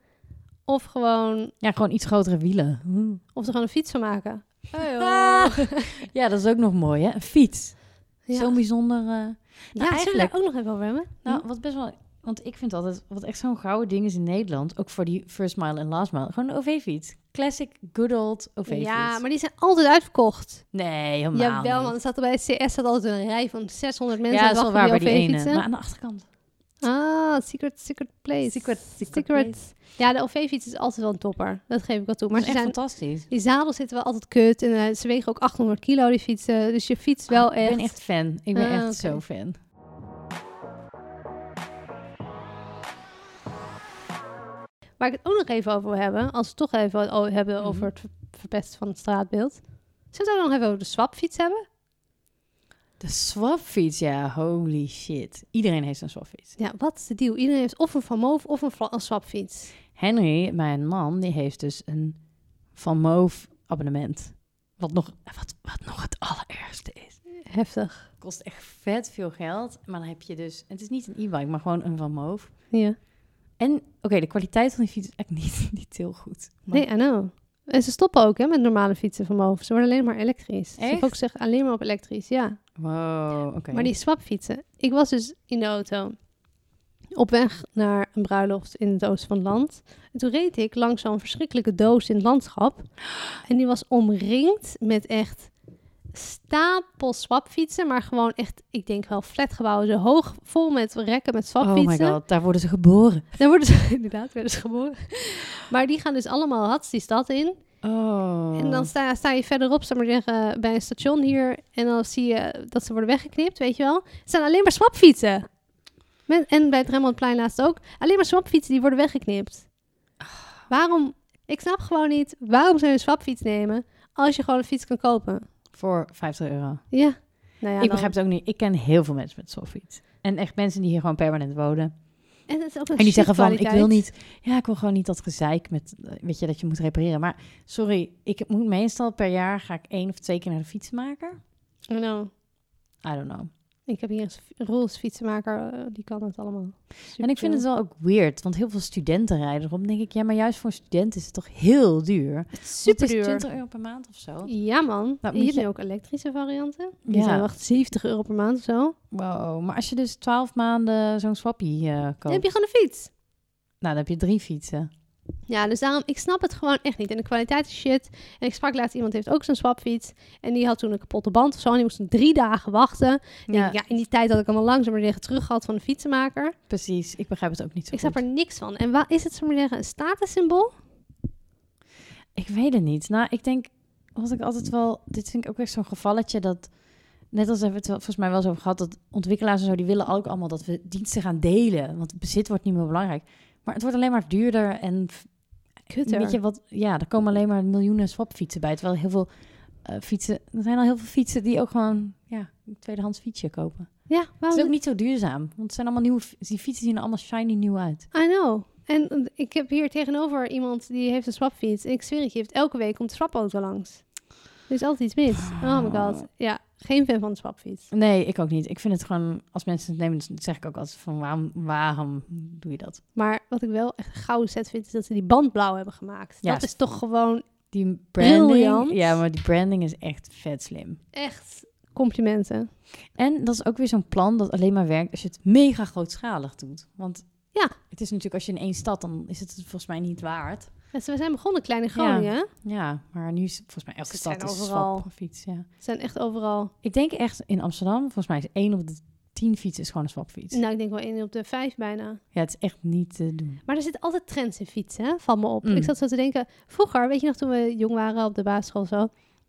Speaker 1: Of gewoon...
Speaker 2: Ja, gewoon iets grotere wielen. Hm.
Speaker 1: Of er gewoon een fiets van maken. (laughs)
Speaker 2: (laughs) Ah. (laughs) ja, dat is ook nog mooi, hè? Een fiets.
Speaker 1: Ja,
Speaker 2: Zo'n bijzonder... eh,
Speaker 1: ja zullen we
Speaker 2: eigenlijk-
Speaker 1: daar ook nog even over hebben?
Speaker 2: Nou, wat best wel. Want ik vind altijd, wat echt zo'n gouden ding is in Nederland, ook voor die first mile en last mile, gewoon een OV-fiets. Classic, good old OV-fiets.
Speaker 1: ja, maar die zijn altijd uitverkocht.
Speaker 2: Nee, helemaal
Speaker 1: Jawel, man.
Speaker 2: niet.
Speaker 1: Er zat er bij het CS zat altijd een rij van 600 mensen.
Speaker 2: Ja,
Speaker 1: aan
Speaker 2: dat is
Speaker 1: het
Speaker 2: wel waar
Speaker 1: wachten
Speaker 2: bij
Speaker 1: op
Speaker 2: die ene.
Speaker 1: OV-fietsen.
Speaker 2: Maar aan de achterkant.
Speaker 1: Ah, Secret, Secret Place.
Speaker 2: Secret- Secret
Speaker 1: Ja, de OV-fiets is altijd wel een topper. Dat geef ik wel toe. Maar
Speaker 2: Maar
Speaker 1: ze
Speaker 2: echt
Speaker 1: zijn,
Speaker 2: fantastisch.
Speaker 1: die zadels zitten wel altijd kut. En eh, ze wegen ook 800 kilo, die fietsen. Dus je fietst wel echt.
Speaker 2: Oh, Ik ben echt fan. Ik ben
Speaker 1: Ah,
Speaker 2: echt
Speaker 1: oké.
Speaker 2: zo fan.
Speaker 1: Waar ik het ook nog even over wil hebben. Als we het toch even o- hebben
Speaker 2: Mhm.
Speaker 1: over het ver- verpesten van het straatbeeld. Zullen we het ook nog even over de swapfiets hebben?
Speaker 2: De swapfiets, ja, holy shit. Iedereen heeft een swapfiets.
Speaker 1: Ja, wat is de deal? Iedereen heeft of een Van Moof of een, vla- een swapfiets.
Speaker 2: Henry, mijn man, die heeft dus een Van Moof abonnement. Wat nog, wat, wat nog het allerergste is.
Speaker 1: Heftig.
Speaker 2: kost echt vet veel geld. Maar dan heb je dus... Het is niet een e-bike, maar gewoon een Van Moof.
Speaker 1: Ja.
Speaker 2: En oké, de kwaliteit van die fiets is echt niet, (laughs) niet heel goed. Maar
Speaker 1: Nee, I know. En ze stoppen ook hè, met normale fietsen van Moof. Ze worden alleen maar elektrisch. Dus Ze
Speaker 2: Echt?
Speaker 1: focussen zich alleen maar op elektrisch, ja.
Speaker 2: Wow, oké.
Speaker 1: Maar die swapfietsen. Ik was dus in de auto. op weg naar een bruiloft in het oosten van het land. En toen reed ik langs zo'n verschrikkelijke doos in het landschap. En die was omringd met echt stapels swapfietsen. Maar gewoon echt, ik denk wel flatgebouwen. Zo hoog, vol met rekken met
Speaker 2: Oh my
Speaker 1: swapfietsen.
Speaker 2: god, daar worden ze geboren.
Speaker 1: Daar worden ze (laughs) inderdaad werden ze geboren. Maar die gaan dus allemaal hats die stad in.
Speaker 2: Oh.
Speaker 1: En dan sta, sta je verderop, zal ik maar zeggen, bij een station hier. En dan zie je dat ze worden weggeknipt, weet je wel. Het zijn alleen maar swapfietsen. Met, en bij het Rembrandtplein laatst ook. Alleen maar swapfietsen die worden weggeknipt. Waarom? Ik snap gewoon niet. Waarom zou je een swapfiets nemen als je gewoon een fiets kan kopen?
Speaker 2: Voor 50 euro.
Speaker 1: Ja. Nou ja,
Speaker 2: ik
Speaker 1: dan-
Speaker 2: begrijp het ook niet. Ik ken heel veel mensen met zoiets. En echt mensen die hier gewoon permanent wonen.
Speaker 1: En, het is ook een
Speaker 2: En die zeggen van, ik
Speaker 1: shitkwaliteit.
Speaker 2: wil niet, ja, ik wil gewoon niet dat gezeik met, eh, weet je, dat je moet repareren. Maar sorry, ik moet meestal per jaar ga ik één of twee keer naar de fietsenmaker.
Speaker 1: I know.
Speaker 2: I don't know.
Speaker 1: Ik heb hier een fi- Roels fietsenmaker, eh, die kan het allemaal. Super
Speaker 2: en ik vind
Speaker 1: chill.
Speaker 2: het wel ook weird, want heel veel studenten rijden erop. Dan denk ik, ja, maar juist voor een student is het toch heel duur. Want
Speaker 1: Het is
Speaker 2: het
Speaker 1: super
Speaker 2: is
Speaker 1: duur.
Speaker 2: 20 euro per maand of zo.
Speaker 1: Ja, man.
Speaker 2: Nou,
Speaker 1: je
Speaker 2: moet
Speaker 1: hebt
Speaker 2: je-
Speaker 1: nu ook elektrische varianten. Die
Speaker 2: Ja.
Speaker 1: zijn wel echt 70 euro per maand of zo.
Speaker 2: Wow, maar als je dus 12 maanden zo'n swappie eh
Speaker 1: Dan
Speaker 2: koopt,
Speaker 1: heb je gewoon een fiets.
Speaker 2: nou, dan heb je drie fietsen.
Speaker 1: Ja, dus daarom, ik snap het gewoon echt niet. En de kwaliteit is shit. En ik sprak laatst iemand, die heeft ook zo'n swapfiets. En die had toen een kapotte band of zo. En die moest drie dagen wachten. Ja, in die tijd had ik allemaal langzaam maar tegen terug gehad van de fietsenmaker.
Speaker 2: precies. Ik begrijp het ook niet zo
Speaker 1: ik
Speaker 2: goed.
Speaker 1: snap er niks van. En wat is het, zo maar zeggen, een statussymbool?
Speaker 2: Ik weet het niet. Nou, ik denk, wat ik altijd wel... Dit vind ik ook echt zo'n gevalletje dat... Net als hebben we het wel- volgens mij wel eens over gehad... dat ontwikkelaars en zo, die willen ook allemaal dat we diensten gaan delen. Want bezit wordt niet meer belangrijk. Maar het wordt alleen maar duurder en... f-
Speaker 1: Kutter.
Speaker 2: Weet je wat? Ja, er komen alleen maar miljoenen swapfietsen bij. Terwijl heel veel eh, fietsen... Er zijn al heel veel fietsen die ook gewoon... Ja, een tweedehands fietsje kopen.
Speaker 1: Ja,
Speaker 2: Het
Speaker 1: waarom?
Speaker 2: is ook niet zo duurzaam. Want het zijn allemaal nieuwe... fi- Die fietsen zien er allemaal shiny nieuw uit.
Speaker 1: I know. En eh, ik heb hier tegenover iemand die heeft een swapfiets. En ik zweer het je, heeft elke week komt de swapauto langs. Er is altijd iets mis. Oh my god. Ja, geen fan van de swapfiets.
Speaker 2: Nee, ik ook niet. Ik vind het gewoon... Als mensen het nemen, dan zeg ik ook altijd van... Waarom, waarom doe je dat?
Speaker 1: Maar wat ik wel echt een gouden set vind, is dat ze die band blauw hebben gemaakt.
Speaker 2: Ja.
Speaker 1: Dat is toch gewoon
Speaker 2: Die branding.
Speaker 1: Briljant.
Speaker 2: Ja, maar die branding is echt vet slim.
Speaker 1: echt complimenten.
Speaker 2: En dat is ook weer zo'n plan dat alleen maar werkt als je het mega grootschalig doet. Want
Speaker 1: Ja.
Speaker 2: het is natuurlijk als je in één stad, dan is het volgens mij niet waard.
Speaker 1: Ja, ze- We zijn begonnen klein in Groningen. hè?
Speaker 2: Ja, maar nu is volgens mij elke
Speaker 1: Ze
Speaker 2: stad
Speaker 1: zijn
Speaker 2: is
Speaker 1: overal.
Speaker 2: swap of fiets. Ja.
Speaker 1: Ze zijn echt overal.
Speaker 2: Ik denk echt in Amsterdam, volgens mij is één op de tien fietsen is gewoon een swapfiets.
Speaker 1: Nou, ik denk wel één op de vijf bijna.
Speaker 2: Ja, het is echt niet te doen.
Speaker 1: Maar er zitten altijd trends in fietsen, hè? Val me op.
Speaker 2: Mm.
Speaker 1: Ik zat zo te denken, vroeger, weet je nog toen we jong waren op de basisschool of zo,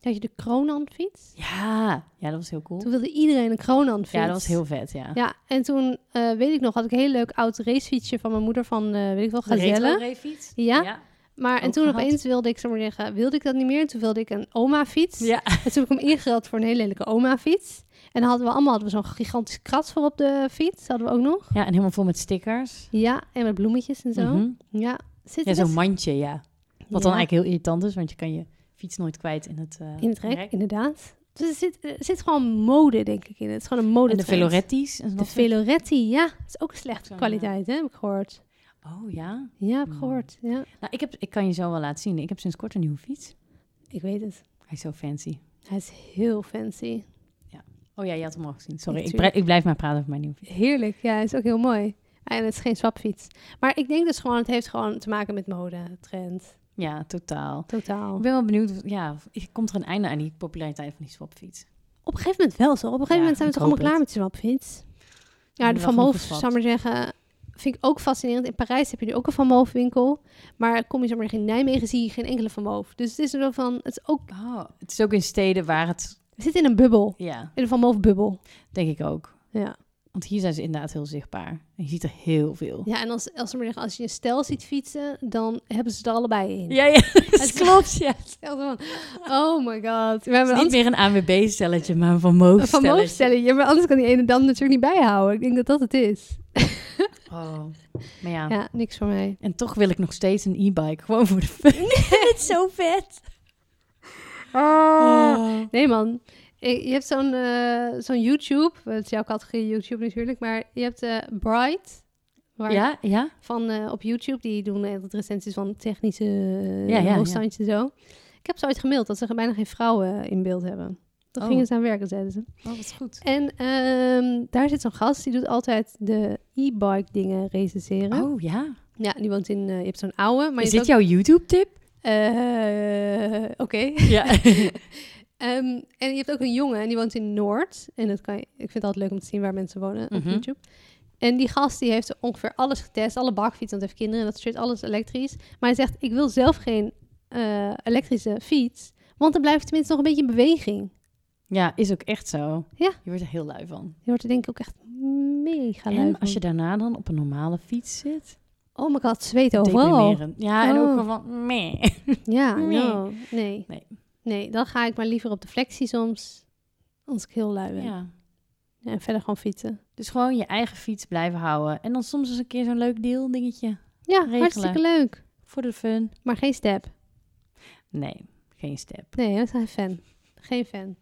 Speaker 1: had je de Kronan-fiets.
Speaker 2: Ja, ja dat was heel cool.
Speaker 1: Toen wilde iedereen een Kronan-fiets.
Speaker 2: Ja, dat was heel vet, ja.
Speaker 1: Ja, en toen, eh, weet ik nog, had ik een heel leuk oud racefietsje van mijn moeder van, eh, weet ik wel, Gazelle.
Speaker 2: Retro-refiets.
Speaker 1: Ja, maar en
Speaker 2: ook
Speaker 1: toen
Speaker 2: gehad.
Speaker 1: opeens wilde ik, zeg maar zeggen, wilde ik dat niet meer. En toen wilde ik een oma-fiets.
Speaker 2: ja.
Speaker 1: En toen heb ik hem ingereld voor een hele lelijke oma-fiets. En dan hadden we allemaal hadden we zo'n gigantische krat voor op de fiets. Hadden we ook nog.
Speaker 2: Ja, en helemaal vol met stickers.
Speaker 1: Ja, en met bloemetjes en zo.
Speaker 2: Mhm.
Speaker 1: Ja, zit
Speaker 2: Ja,
Speaker 1: er
Speaker 2: zo'n
Speaker 1: best-
Speaker 2: mandje, ja. Wat dan
Speaker 1: Ja,
Speaker 2: eigenlijk heel irritant is, want je kan je fiets nooit kwijt in het... eh,
Speaker 1: In het rek, inderdaad. Dus er zit, er zit gewoon mode, denk ik, in. Het is gewoon een mode
Speaker 2: En de veloretti's. En
Speaker 1: De
Speaker 2: dat
Speaker 1: Veloretti, ja. Dat is ook slechte
Speaker 2: Zo'n, eh,
Speaker 1: kwaliteit, hè, heb ik gehoord.
Speaker 2: soort- Oh ja.
Speaker 1: Ja, heb ik
Speaker 2: Hmm.
Speaker 1: gehoord. Ja,
Speaker 2: Nou, ik, heb, ik kan je zo wel laten zien. Ik heb sinds kort een nieuwe fiets.
Speaker 1: ik weet het.
Speaker 2: Hij is zo fancy.
Speaker 1: Hij is heel fancy.
Speaker 2: Oh ja, je had hem al gezien. Sorry, ik,
Speaker 1: Natuurlijk.
Speaker 2: bre- ik blijf maar praten over mijn nieuwe fiets.
Speaker 1: Heerlijk, ja, hij is ook heel mooi. En het is geen swapfiets. Maar ik denk dus gewoon, het heeft gewoon te maken met mode, trend,
Speaker 2: Ja, totaal.
Speaker 1: totaal.
Speaker 2: Ik ben wel benieuwd, ja, komt er een einde aan die populariteit van die swapfiets?
Speaker 1: Op een gegeven moment wel zo. Op een gegeven
Speaker 2: Ja,
Speaker 1: moment zijn we
Speaker 2: ik
Speaker 1: toch
Speaker 2: hoop
Speaker 1: allemaal klaar
Speaker 2: het.
Speaker 1: met die swapfiets. Ja,
Speaker 2: hebben
Speaker 1: de
Speaker 2: wel
Speaker 1: Van
Speaker 2: genoeg
Speaker 1: Moof,
Speaker 2: geswapt.
Speaker 1: zou ik maar zeggen, vind ik ook fascinerend. In Parijs heb je nu ook een Van Moof winkel. Maar kom je zo maar in Nijmegen, zie je geen enkele Van Moof. Dus het is er wel van, het is ook,
Speaker 2: Oh, het is ook in steden waar het...
Speaker 1: we zitten in een bubbel.
Speaker 2: Ja,
Speaker 1: In een Van Moof bubbel.
Speaker 2: denk ik ook.
Speaker 1: Ja,
Speaker 2: Want hier zijn ze inderdaad heel zichtbaar. En je ziet er heel veel.
Speaker 1: ja en als, als, ze maar zeggen, als je een stel ziet fietsen, dan hebben ze er allebei in.
Speaker 2: Ja, ja, dat (laughs)
Speaker 1: is-
Speaker 2: klopt. Ja. Het
Speaker 1: Echt van, Oh my god. We
Speaker 2: is
Speaker 1: hebben
Speaker 2: niet meer een AWB-stelletje, maar een Van Moof
Speaker 1: Van
Speaker 2: stelletje.
Speaker 1: bovenstelling. Ja, maar anders kan die ene dan natuurlijk niet bijhouden. Ik denk dat dat het is.
Speaker 2: (laughs) Oh. Maar ja.
Speaker 1: Ja, niks voor mij.
Speaker 2: En toch wil ik nog steeds een e-bike. Gewoon voor de fun. (laughs) het is zo vet.
Speaker 1: Nee man, Ik- je hebt zo'n eh, zo'n YouTube. Het is jouw categorie YouTube natuurlijk. Maar je hebt eh, Bright. Waar
Speaker 2: Ja, ja.
Speaker 1: van eh, op YouTube. Die doen eh, wat recensies van technische eh,
Speaker 2: Ja, ja, ja.
Speaker 1: hoogstandjes en zo. Ik heb ze ooit gemaild dat ze bijna geen vrouwen eh, in beeld hebben. Toen
Speaker 2: Oh.
Speaker 1: gingen ze aan werken, zeiden ze.
Speaker 2: Oh, wat goed.
Speaker 1: En ehm, daar zit zo'n gast, die doet altijd de e-bike dingen recenseren.
Speaker 2: Oh ja.
Speaker 1: Ja, die woont in... eh, je hebt zo'n oude, maar
Speaker 2: Is
Speaker 1: je hebt
Speaker 2: dit jouw YouTube-tip?
Speaker 1: ook- Eh, Oké.
Speaker 2: (laughs) Ja.
Speaker 1: Ehm, en je hebt ook een jongen en die woont in Noord. En dat kan je, ik vind het altijd leuk om te zien waar mensen wonen op
Speaker 2: Mhm.
Speaker 1: YouTube. En die gast die heeft ongeveer alles getest. Alle bakfietsen, want hij heeft kinderen en dat soort alles elektrisch. Maar hij zegt, ik wil zelf geen eh, elektrische fiets. Want dan blijft het tenminste nog een beetje in beweging.
Speaker 2: ja, is ook echt zo.
Speaker 1: Ja.
Speaker 2: Je wordt er heel lui van.
Speaker 1: Je wordt er denk ik ook echt mega lui
Speaker 2: En
Speaker 1: van.
Speaker 2: als je daarna dan op een normale fiets zit,
Speaker 1: Oh my god, zweet overal.
Speaker 2: deprimerend. Ja, en
Speaker 1: Oh.
Speaker 2: ook gewoon van, meh.
Speaker 1: Ja,
Speaker 2: Nee.
Speaker 1: no, nee.
Speaker 2: Nee.
Speaker 1: Nee, dan ga ik maar liever op de flexie soms. Als ik heel lui ben.
Speaker 2: Ja.
Speaker 1: Ja, en verder gewoon fietsen.
Speaker 2: Dus gewoon je eigen fiets blijven houden. En dan soms eens een keer zo'n leuk deal dingetje.
Speaker 1: Ja,
Speaker 2: Regelen.
Speaker 1: hartstikke leuk.
Speaker 2: Voor de fun.
Speaker 1: Maar geen step.
Speaker 2: Nee, geen step.
Speaker 1: Nee, we zijn fan. Geen fan.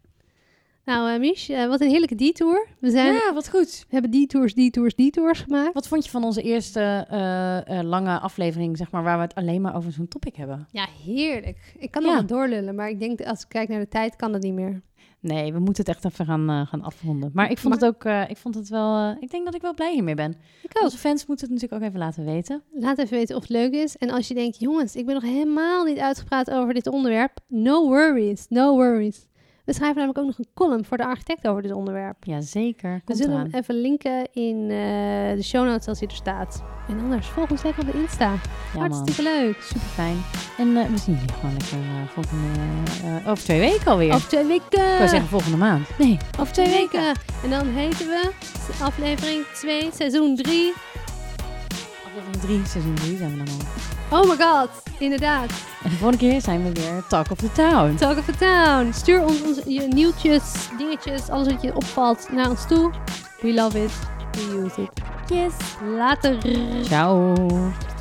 Speaker 1: Nou, eh Mich, eh, wat een heerlijke detour. We, zijn,
Speaker 2: ja, wat goed.
Speaker 1: we hebben detours, detours, detours gemaakt.
Speaker 2: Wat vond je van onze eerste eh, eh, lange aflevering, zeg maar, waar we het alleen maar over zo'n topic hebben?
Speaker 1: Ja, heerlijk. Ik kan
Speaker 2: Ja.
Speaker 1: nog wat doorlullen, maar ik denk dat als ik kijk naar de tijd, kan dat niet meer.
Speaker 2: Nee, we moeten het echt even gaan, eh, gaan afronden. Maar ik vond het ook, eh, ik vond het wel, eh, ik denk dat ik wel blij hiermee ben.
Speaker 1: Ik ook.
Speaker 2: Onze fans moeten het natuurlijk ook even laten weten.
Speaker 1: Laat even weten of het leuk is. En als je denkt, jongens, ik ben nog helemaal niet uitgepraat over dit onderwerp. No worries, no worries. We schrijven namelijk ook nog een column voor de architect over dit onderwerp.
Speaker 2: Jazeker,
Speaker 1: We
Speaker 2: komt
Speaker 1: zullen
Speaker 2: eraan.
Speaker 1: hem even linken in eh, de show notes als hij er staat. En anders volg ons lekker op de Insta.
Speaker 2: Ja man,
Speaker 1: Hartstikke leuk.
Speaker 2: super fijn. En eh, we zien jullie gewoon lekker eh, volgende, eh, over twee weken alweer.
Speaker 1: Over eh, twee weken.
Speaker 2: Ik wou zeggen volgende maand. Nee,
Speaker 1: Over twee weken. En dan heten we aflevering 2, seizoen 3.
Speaker 2: aflevering drie, seizoen drie zijn we dan al.
Speaker 1: Oh my god, inderdaad.
Speaker 2: En de volgende keer zijn we weer Talk of the Town.
Speaker 1: Talk of the Town. Stuur ons, ons je nieuwtjes, dingetjes, alles wat je opvalt naar ons toe. We love it. We use it. Yes. Later.
Speaker 2: Ciao.